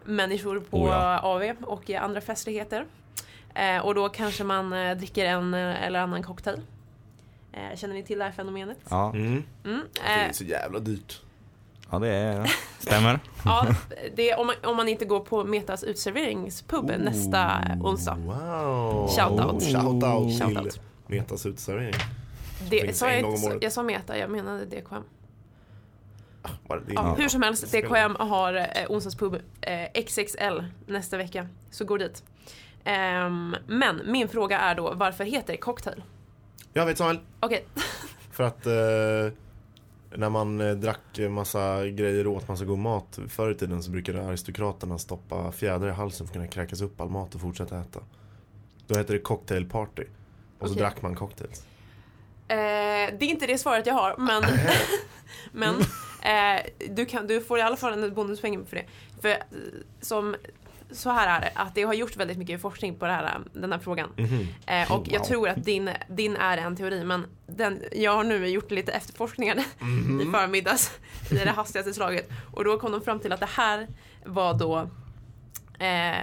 Speaker 1: människor på
Speaker 4: Mm. Oh ja.
Speaker 1: AV och eh, andra festligheter. Eh, och då kanske man eh, dricker en eh, eller annan cocktail. Eh, känner ni till det här fenomenet?
Speaker 4: Ja,
Speaker 2: Mm.
Speaker 1: Mm.
Speaker 2: Det är
Speaker 1: Eh,
Speaker 2: så jävla dyrt.
Speaker 4: ja det är, stämmer.
Speaker 1: ja, det är om, man, om man inte går på Metas utserveringspub
Speaker 4: Oh.
Speaker 1: nästa onsdag.
Speaker 2: Wow.
Speaker 1: Shoutout.
Speaker 2: Shoutout till
Speaker 1: Shoutout.
Speaker 2: Metas uteservering.
Speaker 1: Det,
Speaker 2: Finns
Speaker 1: sa
Speaker 2: en
Speaker 1: jag,
Speaker 2: gång om
Speaker 1: inte,
Speaker 2: året.
Speaker 1: jag sa Meta, jag menade DKM.
Speaker 2: Var Ah, det din?
Speaker 1: Ja, hur som helst,
Speaker 2: Spelar.
Speaker 1: DKM har eh, onsdagspub eh, XXL nästa vecka. Så gå dit. Ehm, men min fråga är då, varför heter det cocktail?
Speaker 2: Jag vet Samuel.
Speaker 1: Okej,
Speaker 2: För att eh, när man eh, drack massa grejer och åt massa god mat förr i tiden så brukade aristokraterna stoppa fjädrar i halsen för att kunna kräkas upp all mat och fortsätta äta. Då hette det cocktailparty. Och så
Speaker 1: Okej.
Speaker 2: drack man cocktails.
Speaker 1: eh, det är inte det svaret jag har, men, men eh, du, kan, du får i alla fall en bonuspoäng för det. För eh, som, så här är det, att det har gjort väldigt mycket forskning på det här, den här frågan.
Speaker 4: Mhm.
Speaker 1: Eh, och jag
Speaker 4: Wow.
Speaker 1: tror att din, din är en teori, men den, jag har nu gjort lite efterforskningar i förmiddags i det hastigaste slaget. Och då kom de fram till att det här var då eh,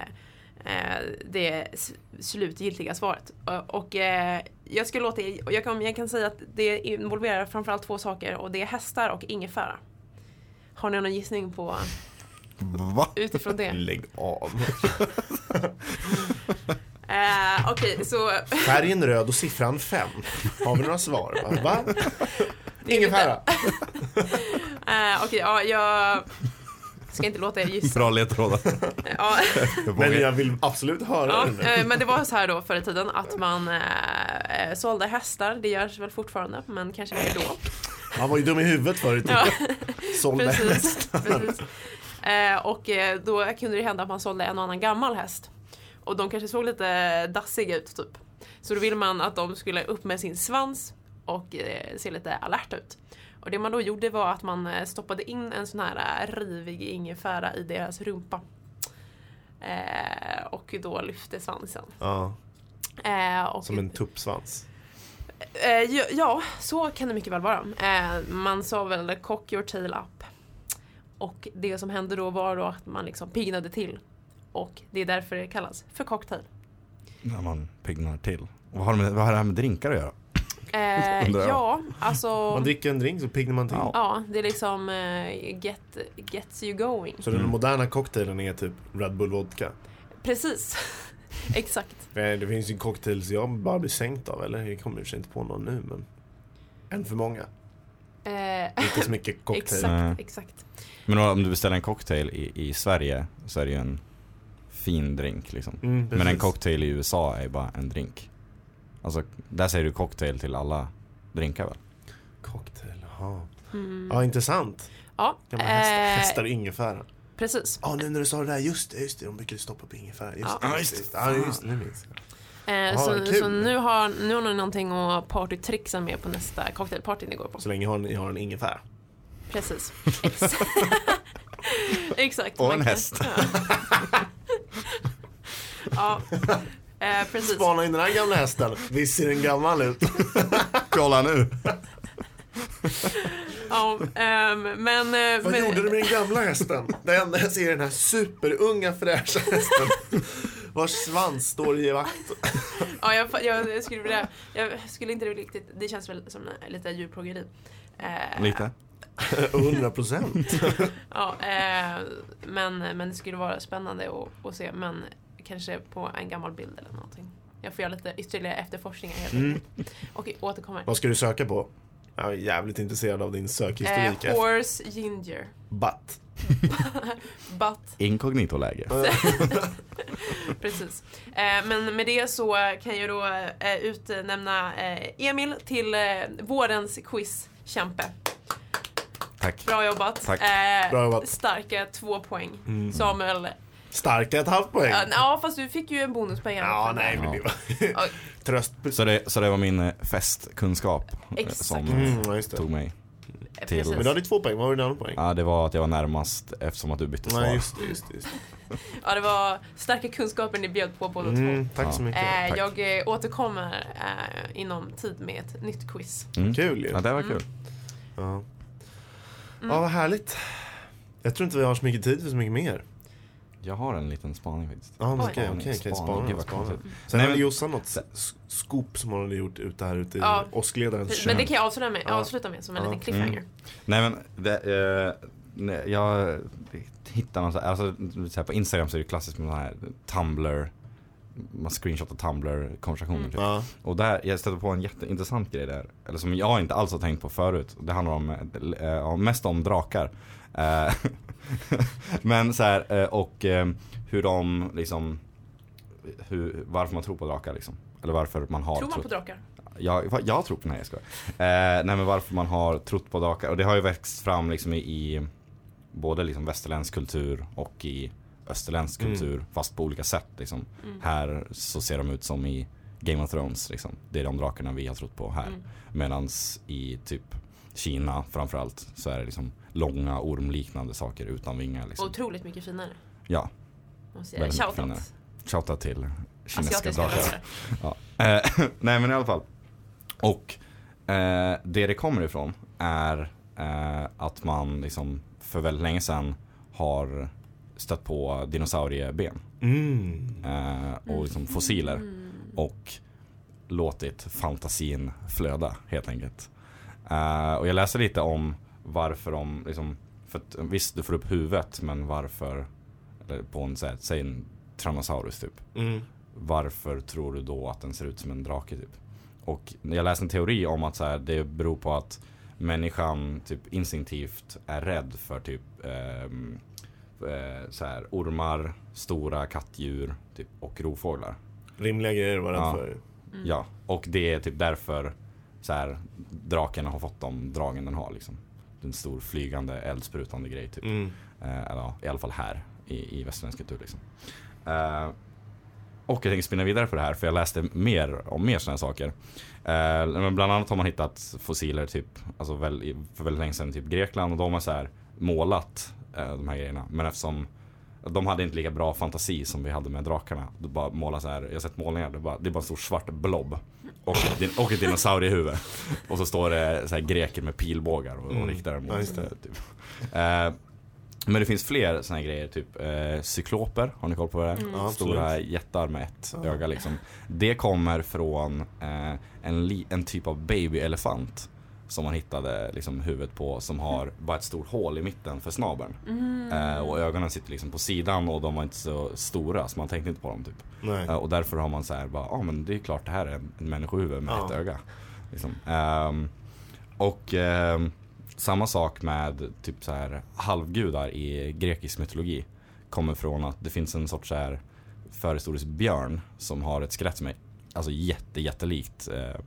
Speaker 1: eh, det s- slutgiltiga svaret. Och- Och eh, jag, ska låta, er- och jag, kan, jag kan säga att det involverar framförallt två saker och det är hästar och ingefära. Har ni någon gissning på
Speaker 4: Va?
Speaker 1: utifrån det?
Speaker 2: Lägg av.
Speaker 1: Eh, Okej, så...
Speaker 2: Färgen röd och siffran fem. Har vi några svar? Va? Va? Ingefära.
Speaker 1: Eh, Okej, ja, jag ska inte låta er gissa.
Speaker 4: Bra ledtrådar.
Speaker 1: Ja,
Speaker 2: Men jag vill absolut höra
Speaker 1: ja,
Speaker 2: den nu.
Speaker 1: eh, men det var så här då förr i tiden att man eh, sålde hästar. Det görs väl fortfarande, men kanske mer då.
Speaker 2: Han var ju dum i huvudet förut.
Speaker 1: Ja,
Speaker 2: Sålde
Speaker 1: precis. precis. Eh, och eh, då kunde det hända att man sålde en och annan gammal häst. Och de kanske såg lite dassiga ut, typ. Så då ville man att de skulle upp med sin svans och eh, se lite alerta ut. Och det man då gjorde var att man eh, stoppade in en sån här eh, rivig ingefära i deras rumpa. Eh, och då lyfte svansen.
Speaker 2: Ja,
Speaker 1: Eh, och
Speaker 2: som en tuppsvans.
Speaker 1: Eh, ja, ja, så kan det mycket väl vara. Eh, man sa väl cock your tail up. Och det som hände då var då att man liksom pignade till. Och det är därför det kallas för cocktail.
Speaker 4: När man piggnar till. Och Vad har, det med, vad har det här med drinkar att göra?
Speaker 1: Eh,
Speaker 4: Undrar jag.
Speaker 1: ja,
Speaker 2: Man
Speaker 1: alltså.
Speaker 2: dricker en drink så piggnar man till.
Speaker 4: Ja.
Speaker 1: Ja, det är liksom eh, get, gets you going.
Speaker 2: Så den
Speaker 4: Mm.
Speaker 2: moderna cocktailen är typ Red Bull vodka.
Speaker 1: Precis. Exakt.
Speaker 2: Nej, Det finns ju cocktails jag bara blir sänkt av, eller? Jag kommer i och för sig inte på någon nu, men... En för många.
Speaker 1: Eh,
Speaker 2: Inte så mycket cocktail. Mm.
Speaker 4: Nej.
Speaker 1: exakt, exakt.
Speaker 4: Men om du beställer en cocktail i, i Sverige så är det ju en fin drink liksom.
Speaker 2: Mm,
Speaker 4: Men en
Speaker 2: precis.
Speaker 4: cocktail i USA är bara en drink. Alltså, där säger du cocktail till alla drinkar väl?
Speaker 2: Cocktail, ja.
Speaker 1: Mm.
Speaker 2: Ja, intressant.
Speaker 1: Ja,
Speaker 2: Gamla hästar,
Speaker 1: eh,
Speaker 2: hästar och ingefära.
Speaker 1: precis.
Speaker 2: Ja, nu när du sa det där, just det, just det. De brukar ju stoppa på ingefära. Just
Speaker 1: Ja.
Speaker 2: det, just det. Just det. Ja, just det. Nu minns jag.
Speaker 1: Eh,
Speaker 2: Ja,
Speaker 1: så
Speaker 2: kul.
Speaker 1: så nu, har, nu har ni någonting att partytricksa med på nästa cocktailparty ni går på.
Speaker 2: Så länge har ni har en ingefära.
Speaker 1: Precis. Ex- Exakt.
Speaker 4: Och
Speaker 1: man
Speaker 4: en
Speaker 1: kan-
Speaker 4: häst.
Speaker 1: Ja, ja. Eh, precis.
Speaker 2: Spana in den här gamla hästen. Visst ser den gammal ut?
Speaker 4: Kolla nu!
Speaker 1: Ja, ehm, men, eh,
Speaker 2: Vad
Speaker 1: men,
Speaker 2: gjorde du med den gamla hästen? Det enda jag ser är den här superunga fräscha hästen. Vars svans står i vakt.
Speaker 1: Ja, jag, fa- jag, skulle vilja, jag skulle inte riktigt... Det känns väl som eh, lite djurplågeri. Eh,
Speaker 4: Lite.
Speaker 2: 100 procent.
Speaker 1: Ja, eh, men, men det skulle vara spännande att, att se. Men kanske på en gammal bild eller någonting. Jag får göra lite ytterligare efterforskningar helt enkelt.
Speaker 4: Mm.
Speaker 1: Och återkommer.
Speaker 2: Vad ska du söka på? Jag är jävligt intresserad av din sökhistorik.
Speaker 1: Eh, horse ginger.
Speaker 2: Butt.
Speaker 1: But
Speaker 4: Inkognito-läge.
Speaker 1: Precis. Eh, men med det så eh, kan jag då eh, utnämna eh, Emil till eh, vårens quizkämpe.
Speaker 4: Tack.
Speaker 1: Bra jobbat.
Speaker 4: Tack.
Speaker 1: Eh,
Speaker 2: Bra jobbat.
Speaker 1: Starka två poäng.
Speaker 2: Mm.
Speaker 1: Samuel.
Speaker 2: Starka ett halvt poäng.
Speaker 1: Ja, n- ja, fast du fick ju en bonuspoäng. i alla
Speaker 2: Ja,
Speaker 1: fall.
Speaker 2: nej men det var...
Speaker 1: Oj.
Speaker 2: Tröst...
Speaker 4: Så det, så det var min eh, festkunskap eh,
Speaker 1: Exakt.
Speaker 4: som eh,
Speaker 2: Mm, ja, just det.
Speaker 4: tog mig.
Speaker 1: Eh,
Speaker 4: till-
Speaker 1: precis.
Speaker 2: Men då hade du två poäng, vad var din andra poäng?
Speaker 4: Ja, det var att jag var närmast eftersom att du bytte svar.
Speaker 2: Nej, just det, just det. Just det.
Speaker 1: Ja, det var starka kunskaper ni bjöd på båda två.
Speaker 2: Mm, tack
Speaker 4: Ja.
Speaker 2: så mycket.
Speaker 1: Eh,
Speaker 4: tack.
Speaker 1: jag eh, återkommer eh, inom tid med ett nytt quiz.
Speaker 4: Mm.
Speaker 2: Kul ju.
Speaker 4: Ja, det var kul.
Speaker 1: Mm.
Speaker 2: Ja. ja, vad härligt. Jag tror inte vi har så mycket tid för så mycket mer.
Speaker 4: Jag har en liten spaning faktiskt.
Speaker 2: Ja, men
Speaker 1: Oj.
Speaker 2: okej, okej, okej,
Speaker 4: Gud,
Speaker 2: spana,
Speaker 4: vad
Speaker 2: spana.
Speaker 4: konstigt.
Speaker 2: Sen
Speaker 4: Nej,
Speaker 2: hade
Speaker 4: men-
Speaker 2: Jossan något s- scoop som hon hade gjort ute här ute i
Speaker 1: Ja.
Speaker 2: åskledarens
Speaker 1: Men det
Speaker 2: kök.
Speaker 1: kan jag avsluta med,
Speaker 2: Ja.
Speaker 1: avsluta med som en
Speaker 2: Ja. Mm.
Speaker 1: liten cliffhanger.
Speaker 4: Nej men, det, eh, nej, jag hittar någon så här, alltså så här på Instagram så är det klassiskt med sån här Tumblr, man screenshotar Tumblr-konversationer
Speaker 1: Mm.
Speaker 4: typ.
Speaker 2: Ja.
Speaker 4: Och där, jag stötte på en jätteintressant grej där, eller som jag inte alls har tänkt på förut. Det handlar om, eh, om- mest om drakar. Eh, Men så här, eh, och eh, hur de liksom, hur, varför man tror på drakar liksom. Eller varför man har
Speaker 1: Tror man
Speaker 4: trott
Speaker 1: på drakar?
Speaker 4: jag, va- jag tror på, nej jag skojar. Eh, nej men varför man har trott på drakar. Och det har ju växt fram liksom i, i både liksom västerländsk kultur och i österländsk
Speaker 2: Mm.
Speaker 4: kultur. Fast på olika sätt liksom.
Speaker 1: Mm.
Speaker 4: Här så ser de ut som i Game of Thrones liksom. Det är de drakarna vi har trott på här.
Speaker 1: Mm.
Speaker 4: Medans i typ Kina framförallt så är det liksom långa ormliknande saker utan vingar liksom.
Speaker 1: Otroligt mycket finare.
Speaker 4: Ja,
Speaker 1: Måste jag
Speaker 4: Väldigt
Speaker 1: säga.
Speaker 4: mycket finare.
Speaker 1: Shoutout.
Speaker 4: shoutout till kinesiska
Speaker 1: Asiatiska
Speaker 4: drakar.
Speaker 1: drakar.
Speaker 4: Ja. Eh, nej men i alla fall. Och eh, det det kommer ifrån är eh, att man liksom för väldigt länge sedan har stött på dinosaurieben
Speaker 2: Mm.
Speaker 4: eh, och liksom fossiler
Speaker 1: Mm.
Speaker 4: och låtit fantasin flöda helt enkelt. Eh, och jag läser lite om varför de liksom, för att, visst du får upp huvudet men varför, eller på en, så här, säg en Tyrannosaurus typ.
Speaker 2: Mm.
Speaker 4: Varför tror du då att den ser ut som en drake typ? Och jag läste en teori om att så här, det beror på att människan typ instinktivt är rädd för typ ehm, eh, så här, ormar, stora kattdjur typ, och rovfåglar.
Speaker 2: Rimliga grejer att vara rädd
Speaker 4: Ja.
Speaker 2: för.
Speaker 4: Ja, och det är typ därför så här, draken har fått de dragen den har. Liksom. En stor flygande eldsprutande grej typ.
Speaker 2: Mm.
Speaker 4: Eh, eller ja, i alla fall här i, i västerländsk kultur. Liksom. Eh, och jag tänker spinna vidare på det här för jag läste mer om mer sådana saker. Eh, men bland annat har man hittat fossiler typ, alltså väl, i- för väldigt länge sedan i typ Grekland och de har så här målat eh, de här grejerna. Men eftersom de hade inte lika bra fantasi som vi hade med drakarna. Du bara måla så här, jag har sett målningar, det är bara, det är bara en stor svart blob. Och, ett din- och ett dinosauriehuvud. Och så står det så här greker med pilbågar och, och
Speaker 2: Mm.
Speaker 4: riktar den
Speaker 2: Ja,
Speaker 4: mot.
Speaker 2: just
Speaker 4: Ja,
Speaker 2: det.
Speaker 4: typ. eh, men det finns fler såna här grejer, typ eh, cykloper, har ni koll på vad det är?
Speaker 2: Mm. Ja, absolut.
Speaker 4: Stora jättar med ett
Speaker 2: Ja.
Speaker 4: öga liksom. Det kommer från eh, en, li- en typ av babyelefant som man hittade liksom, huvudet på som
Speaker 2: Mm.
Speaker 4: har bara ett stort hål i mitten för snabeln.
Speaker 1: Mm.
Speaker 4: Eh, och ögonen sitter liksom på sidan och de var inte så stora så man tänkte inte på dem typ.
Speaker 2: Nej.
Speaker 4: Eh, Och därför har man så här bara, ja ah, men det är klart det här är en människohuvud med
Speaker 2: Ja.
Speaker 4: ett öga. Liksom. Ehm, och ehm, samma sak med typ så här halvgudar i grekisk mytologi. Kommer från att det finns en sorts så här förhistorisk björn som har ett skelett som är alltså jätte, jättelikt eh,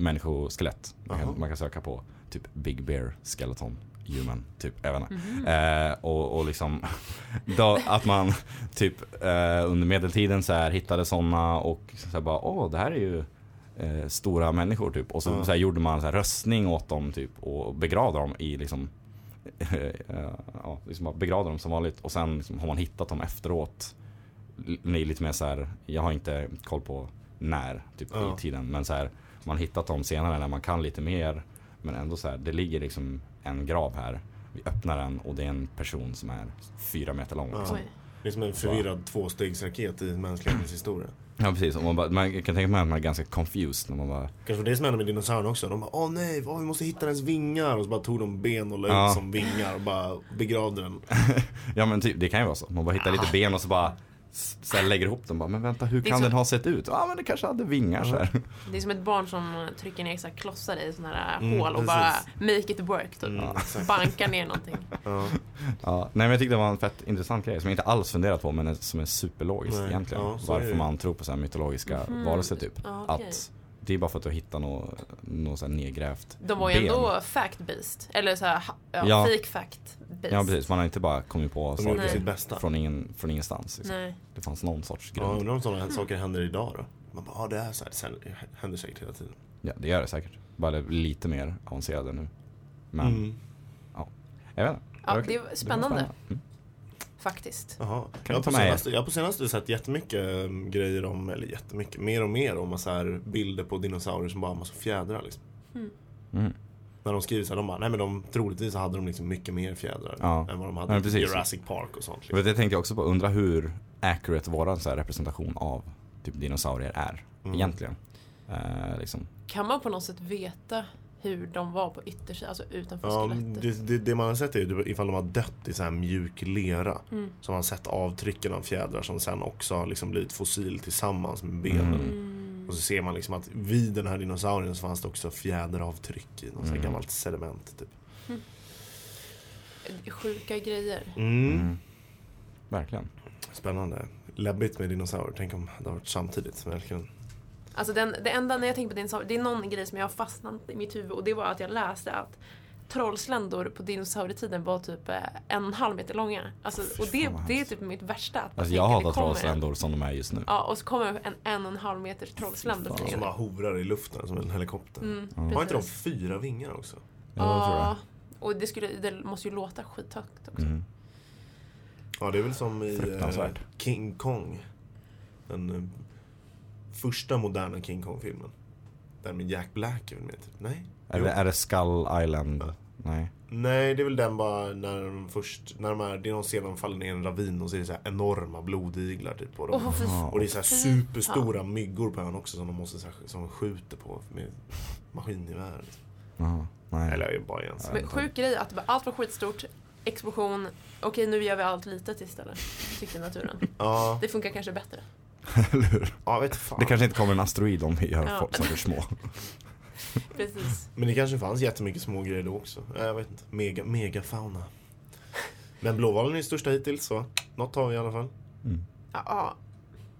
Speaker 4: människoskelett. Man
Speaker 2: Jaha.
Speaker 4: kan, man kan söka på typ Big Bear Skeleton Human, typ. Även.
Speaker 2: Mm.
Speaker 4: Eh, och, och liksom då, att man typ eh, under medeltiden så här hittade sådana och så här bara åh det här är ju eh, stora människor typ. Och så,
Speaker 2: Ja.
Speaker 4: så här gjorde man så här röstning åt dem typ och begravde dem i liksom eh, Ja, liksom bara begravde dem som vanligt och sen liksom, har man hittat dem efteråt. L- Lite mer så här, jag har inte koll på när typ,
Speaker 2: Ja.
Speaker 4: i tiden men så här, man har hittat dem senare när man kan lite mer. Men ändå så här, det ligger liksom en grav här. Vi öppnar den och det är en person som är fyra meter lång.
Speaker 2: Ja.
Speaker 4: Liksom.
Speaker 1: Oj.
Speaker 2: Det är som en förvirrad tvåstegsraket i mänsklighetens historia.
Speaker 4: Ja precis, och man, bara, man jag kan tänka mig att man är ganska confused när man bara
Speaker 2: Kanske det som hände med dinosaurierna också. De bara åh nej, åh, vi måste hitta dens vingar. Och så bara tog de ben och la ut
Speaker 4: Ja.
Speaker 2: som vingar och bara begravde den.
Speaker 4: Ja men typ, det kan ju vara så. Man bara hittar lite ben och så bara s- så här lägger ihop dem bara, men vänta hur
Speaker 1: Det är
Speaker 4: kan
Speaker 1: så-
Speaker 4: den ha sett ut? Ja men det kanske hade vingar så här.
Speaker 1: Det är som ett barn som trycker ner så här klossar i sådana här
Speaker 2: Mm,
Speaker 1: hål och
Speaker 2: precis.
Speaker 1: bara make it work typ.
Speaker 2: Mm, exakt.
Speaker 1: Bankar ner någonting.
Speaker 2: Ja.
Speaker 4: Ja, nej men jag tyckte det var en fett intressant grej som jag inte alls funderat på men är- som är superlogiskt
Speaker 2: Nej,
Speaker 4: egentligen.
Speaker 2: ja, så är det
Speaker 4: Varför
Speaker 2: ju.
Speaker 4: man tror på så här mytologiska
Speaker 1: Mhm.
Speaker 4: varelser typ.
Speaker 1: Ja, okej.
Speaker 4: Att det är bara för att du hittar något, något så här nedgrävt
Speaker 1: De var ju
Speaker 4: ben.
Speaker 1: ändå fact-based. Eller så här, ha- ja,
Speaker 4: Ja.
Speaker 1: fake fact-based.
Speaker 4: Ja precis, man har inte bara kommit på
Speaker 2: De gjorde
Speaker 1: Nej.
Speaker 2: sitt
Speaker 4: saker
Speaker 2: bästa.
Speaker 4: från, ingen, från ingenstans. Liksom.
Speaker 1: Nej.
Speaker 4: Det fanns någon sorts
Speaker 2: Ja,
Speaker 4: grund.
Speaker 2: undrar om sådana saker händer idag då? Man bara, ja det är så här. Sen händer säkert hela tiden.
Speaker 4: Ja, det gör det säkert. Bara det är lite mer avancerade nu. Men
Speaker 2: Mm.
Speaker 4: jag vet inte.
Speaker 1: Ja,
Speaker 4: verkar-
Speaker 1: det var spännande
Speaker 4: Mm.
Speaker 1: faktiskt.
Speaker 2: Jaha.
Speaker 4: Kan
Speaker 2: jag,
Speaker 4: du ta
Speaker 2: på
Speaker 4: med er?
Speaker 2: senaste, jag har på senaste sett jättemycket ehm, grejer om, eller jättemycket, mer och mer om så här bilder på dinosaurier som bara har massa fjädrar liksom.
Speaker 4: Mm.
Speaker 2: När de skriver så här, de bara, nej men de, troligtvis så hade de liksom mycket mer fjädrar
Speaker 4: Ja.
Speaker 2: än vad de hade
Speaker 4: Ja,
Speaker 2: i
Speaker 4: precis.
Speaker 2: Jurassic Park och sånt. Liksom.
Speaker 4: Vet, det tänkte jag också på, undra hur accurate våran så här representation av typ dinosaurier är
Speaker 2: Mm.
Speaker 4: egentligen. Eh, liksom.
Speaker 1: Kan man på något sätt veta hur de var på yttersidan, alltså utanför
Speaker 2: Ja,
Speaker 1: skelettet?
Speaker 2: det, det, det man har sett är ju typ ifall de har dött i så här mjuk lera.
Speaker 1: Mm.
Speaker 2: Så har man sett avtrycken av fjädrar som sen också har liksom blivit fossil tillsammans med benen.
Speaker 4: Mm.
Speaker 1: Mm.
Speaker 2: Och så ser man liksom att vid den här dinosaurien så fanns det också fjäderavtryck i något mm.
Speaker 4: Mm.
Speaker 2: gammalt sediment. Typ.
Speaker 1: Sjuka grejer.
Speaker 2: Mm.
Speaker 4: Mm. Verkligen.
Speaker 2: Spännande. Läbbigt med dinosaurier. Tänk om det hade varit samtidigt. Verkligen.
Speaker 1: Alltså den, det enda när jag tänker på dinosaurier, det är någon grej som jag har fastnat i mitt huvud och det var att jag läste att trollsländor på dinosaurietiden var typ eh, en och en halv meter långa. Alltså, och det,
Speaker 4: fan vad
Speaker 1: det är
Speaker 4: hemskt.
Speaker 1: typ mitt värsta. Att man
Speaker 4: Alltså jag
Speaker 1: tänker, det
Speaker 4: hatar
Speaker 1: kommer en-
Speaker 4: trollsländor som de är just nu.
Speaker 1: Ja, och så kommer en en och en halv meters trollsländer
Speaker 4: Fy fan. alltså.
Speaker 2: Som
Speaker 1: flygande.
Speaker 2: bara hovrar i luften som en helikopter.
Speaker 1: Mm,
Speaker 2: Har inte de
Speaker 1: precis.
Speaker 2: fyra vingar också?
Speaker 4: Ja, det tror jag.
Speaker 1: Ja, och det, skulle, det måste ju låta skithögt också.
Speaker 4: Mm.
Speaker 2: Ja, det är väl som i eh,
Speaker 4: Fruktansvärt.
Speaker 2: King Kong. Den eh, första moderna King Kong-filmen. Den med Jack Black är väl med? Typ. Nej?
Speaker 4: Är, det, är det Skull Island?
Speaker 2: Ja.
Speaker 4: Nej.
Speaker 2: Nej, det är väl den bara när de först, när de är, det är någon scen där de faller ner i en ravin och så är det så här enorma blodiglar typ på dem.
Speaker 1: Åh, fy
Speaker 4: Ja.
Speaker 2: Och det är så här
Speaker 1: Typ.
Speaker 2: superstora myggor på ön också som de måste så här, som de skjuter på med maskingevär. liksom.
Speaker 4: Jaha, nej.
Speaker 2: Eller bara i en sån.
Speaker 1: Men sjuk grej att allt var skitstort, explosion, okej nu gör vi allt litet istället. Tyckte naturen.
Speaker 2: Ja,
Speaker 1: Det funkar kanske bättre.
Speaker 4: Eller hur?
Speaker 2: Ja, vet fan.
Speaker 4: Det kanske inte kommer en asteroid om vi gör
Speaker 1: Ja.
Speaker 4: folk som är små.
Speaker 1: Precis.
Speaker 2: Men det kanske fanns jättemycket små grejer då också. Eh, Jag vet inte. Mega, megafauna. Men blåvalen är ju största hittills så något har vi i alla fall.
Speaker 1: Ja, ja.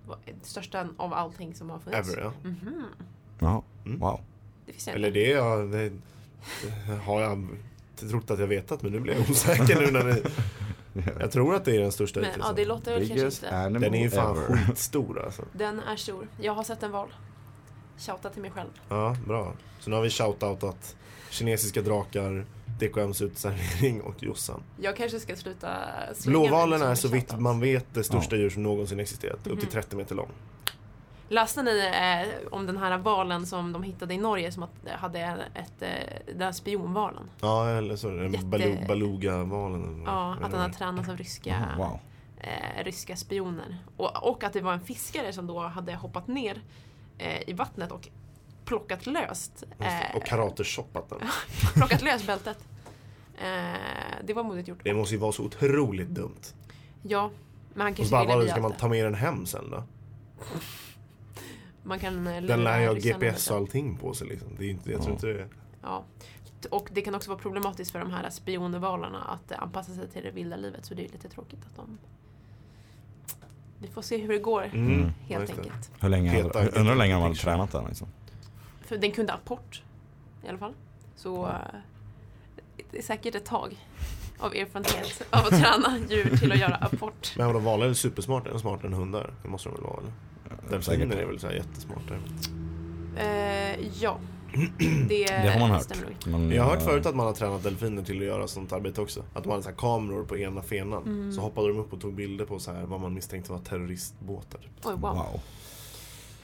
Speaker 1: Vad- Största av allting som har funnits.
Speaker 2: Ever, ja.
Speaker 1: Mhm.
Speaker 4: Ja,
Speaker 2: Mm.
Speaker 4: wow.
Speaker 1: Det finns en.
Speaker 2: Eller det, är jag- det det har jag trott att jag vetat men nu blir jag osäker nu när det, Jag tror att det är den största
Speaker 1: Men ja, det låter väl kanske
Speaker 4: Biggest
Speaker 1: inte.
Speaker 4: animal
Speaker 2: Den är ju fan
Speaker 4: ever.
Speaker 2: skitstor alltså.
Speaker 1: Den är stor. Jag har sett en val. Shouta till mig själv.
Speaker 2: Ja, bra. Så nu har vi shoutoutat kinesiska drakar, DKMs uteservering och Jossan.
Speaker 1: Jag kanske ska sluta slänga mig
Speaker 2: Blåvalen
Speaker 1: som Mm.
Speaker 2: är
Speaker 1: en
Speaker 2: så vitt
Speaker 1: shoutout.
Speaker 2: man vet det största djur som någonsin existerat. Upp till 30 meter lång.
Speaker 1: Läste ni eh, om den här valen som de hittade i Norge som att, hade en- ett, eh, den här spionvalen?
Speaker 2: Ja, eller så är det
Speaker 1: Jätte-
Speaker 2: Balu- Baluga-valen. eller vad-
Speaker 1: Ja,
Speaker 2: vad
Speaker 1: att
Speaker 2: det
Speaker 1: den har
Speaker 2: var.
Speaker 1: tränats av ryska,
Speaker 2: Mm,
Speaker 4: Ja, Wow.
Speaker 1: eh, ryska spioner. Och, och att det var en fiskare som då hade hoppat ner eh, i vattnet och plockat löst, eh,
Speaker 2: Och karateshoppat den.
Speaker 1: plockat löst bältet. Eh, det var modigt gjort.
Speaker 2: Det måste ju vara så otroligt dumt.
Speaker 1: Ja, men han
Speaker 2: Och så
Speaker 1: kanske
Speaker 2: bara,
Speaker 1: ville
Speaker 2: vadå,
Speaker 1: bli
Speaker 2: ska man
Speaker 1: allt det.
Speaker 2: ta med den hem sen då?
Speaker 1: Man kan eh, lura
Speaker 2: Den lär ju
Speaker 1: ryssarna
Speaker 2: ha
Speaker 1: lite.
Speaker 2: GPS och allting på sig liksom. Det är inte, jag tror
Speaker 4: Ja.
Speaker 2: inte det är...
Speaker 1: Ja. Och det kan också vara problematiskt för de här spionvalarna att eh, anpassa sig till det vilda livet så det är lite tråkigt att de... Vi får se hur det går
Speaker 2: Mm.
Speaker 4: Mm.
Speaker 2: Ja,
Speaker 1: helt
Speaker 2: just det.
Speaker 1: enkelt.
Speaker 4: Hur länge,
Speaker 2: Peta-
Speaker 4: hur- undrar hur länge de hade
Speaker 2: picture.
Speaker 4: tränat den liksom.
Speaker 1: För den kunde ha port i alla fall. Så eh, det är säkert ett tag av erfarenhet av att träna djur till att göra apport.
Speaker 2: Men vadå, valar är supersmarta, är smartare än hundar? Det måste de väl vara eller? Delfiner är väl så här jättesmarta.
Speaker 1: Eh, ja, det,
Speaker 4: Det har man hört.
Speaker 1: stämmer nog.
Speaker 4: Men,
Speaker 2: Jag har hört
Speaker 4: eh,
Speaker 2: förut att man har tränat delfiner till att göra sånt arbete också. Att de hade så här kameror på ena fenan.
Speaker 1: Mm.
Speaker 2: Så hoppade de upp och tog bilder på så här vad man misstänkte var terroristbåtar.
Speaker 1: Oj, wow.
Speaker 4: Wow.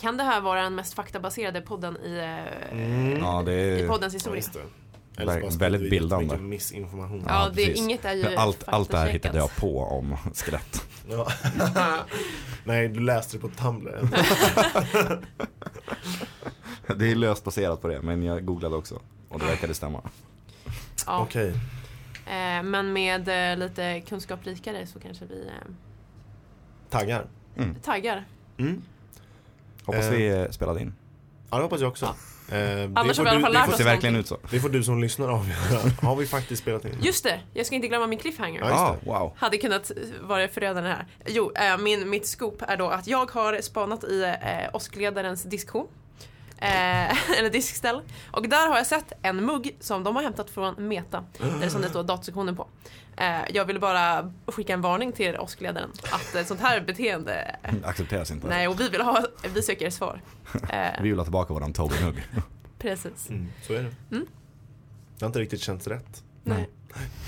Speaker 1: Kan det här vara den mest faktabaserade podden i, eh,
Speaker 4: Ja, Mm. det
Speaker 1: i poddens
Speaker 4: är,
Speaker 2: Mm. Ja,
Speaker 1: historia?
Speaker 2: just det. Eller så bara
Speaker 4: Väldigt
Speaker 2: sprider vi
Speaker 4: bildande.
Speaker 2: jättemycket missinformation.
Speaker 1: Ja, det,
Speaker 4: precis.
Speaker 1: inget är ju
Speaker 4: allt, allt det här
Speaker 1: faktacheckat.
Speaker 4: hittade jag på om skelett.
Speaker 2: Ja. Nej, du läste det på Tumblr.
Speaker 4: Det är löst baserat på det, men jag googlade också. Och det verkade stämma.
Speaker 1: Ja.
Speaker 2: Okej.
Speaker 1: Eh, men med eh, lite kunskap rikare så kanske vi eh,
Speaker 2: Taggar.
Speaker 1: taggar.
Speaker 2: Mm.
Speaker 4: Hoppas vi eh, spelade in.
Speaker 2: Ja, det hoppas jag också. Eh, det
Speaker 1: Annars
Speaker 2: får
Speaker 1: har vi i alla fall
Speaker 2: du- det
Speaker 1: lärt
Speaker 4: Det
Speaker 2: får-
Speaker 1: oss
Speaker 4: ser verkligen ut
Speaker 1: någonting.
Speaker 4: så.
Speaker 2: Det får du som lyssnar avgöra. Har vi faktiskt spelat in?
Speaker 1: Just det, jag ska inte glömma min cliffhanger.
Speaker 2: Ja,
Speaker 4: Ah,
Speaker 2: just
Speaker 4: wow.
Speaker 1: Hade kunnat vara förödande här. Jo, eh, min, mitt scoop är då att jag har spanat i eh, åskledarens diskho. Eh, eller diskställ. Och där har jag sett en mugg som de har hämtat från Meta. Där som det står datasektionen på. Eh, jag ville bara skicka en varning till åskledaren att eh, sånt här beteende
Speaker 4: Accepteras inte.
Speaker 1: Nej, och vi vill ha, vi söker svar. Eh,
Speaker 4: Vi vill ha tillbaka våran Tobin-hugg.
Speaker 1: precis.
Speaker 2: Mm, så är det.
Speaker 1: Mm.
Speaker 2: Det har inte riktigt känts rätt.
Speaker 1: Nej.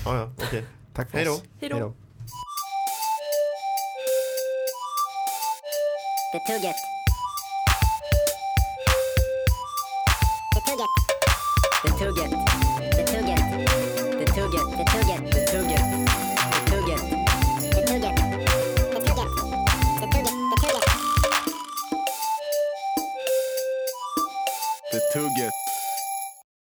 Speaker 2: Ah, ja, okej.
Speaker 4: Tack för
Speaker 2: Hej då.
Speaker 4: oss.
Speaker 1: Hej då.
Speaker 3: Det tugget. Det tugget. Det tugget. Det tugget. Det tugget. Det tugget. Det tugget. Det tugget. Det tugget. Det tugget. Det tugget. Det tugget.
Speaker 5: The Tugget.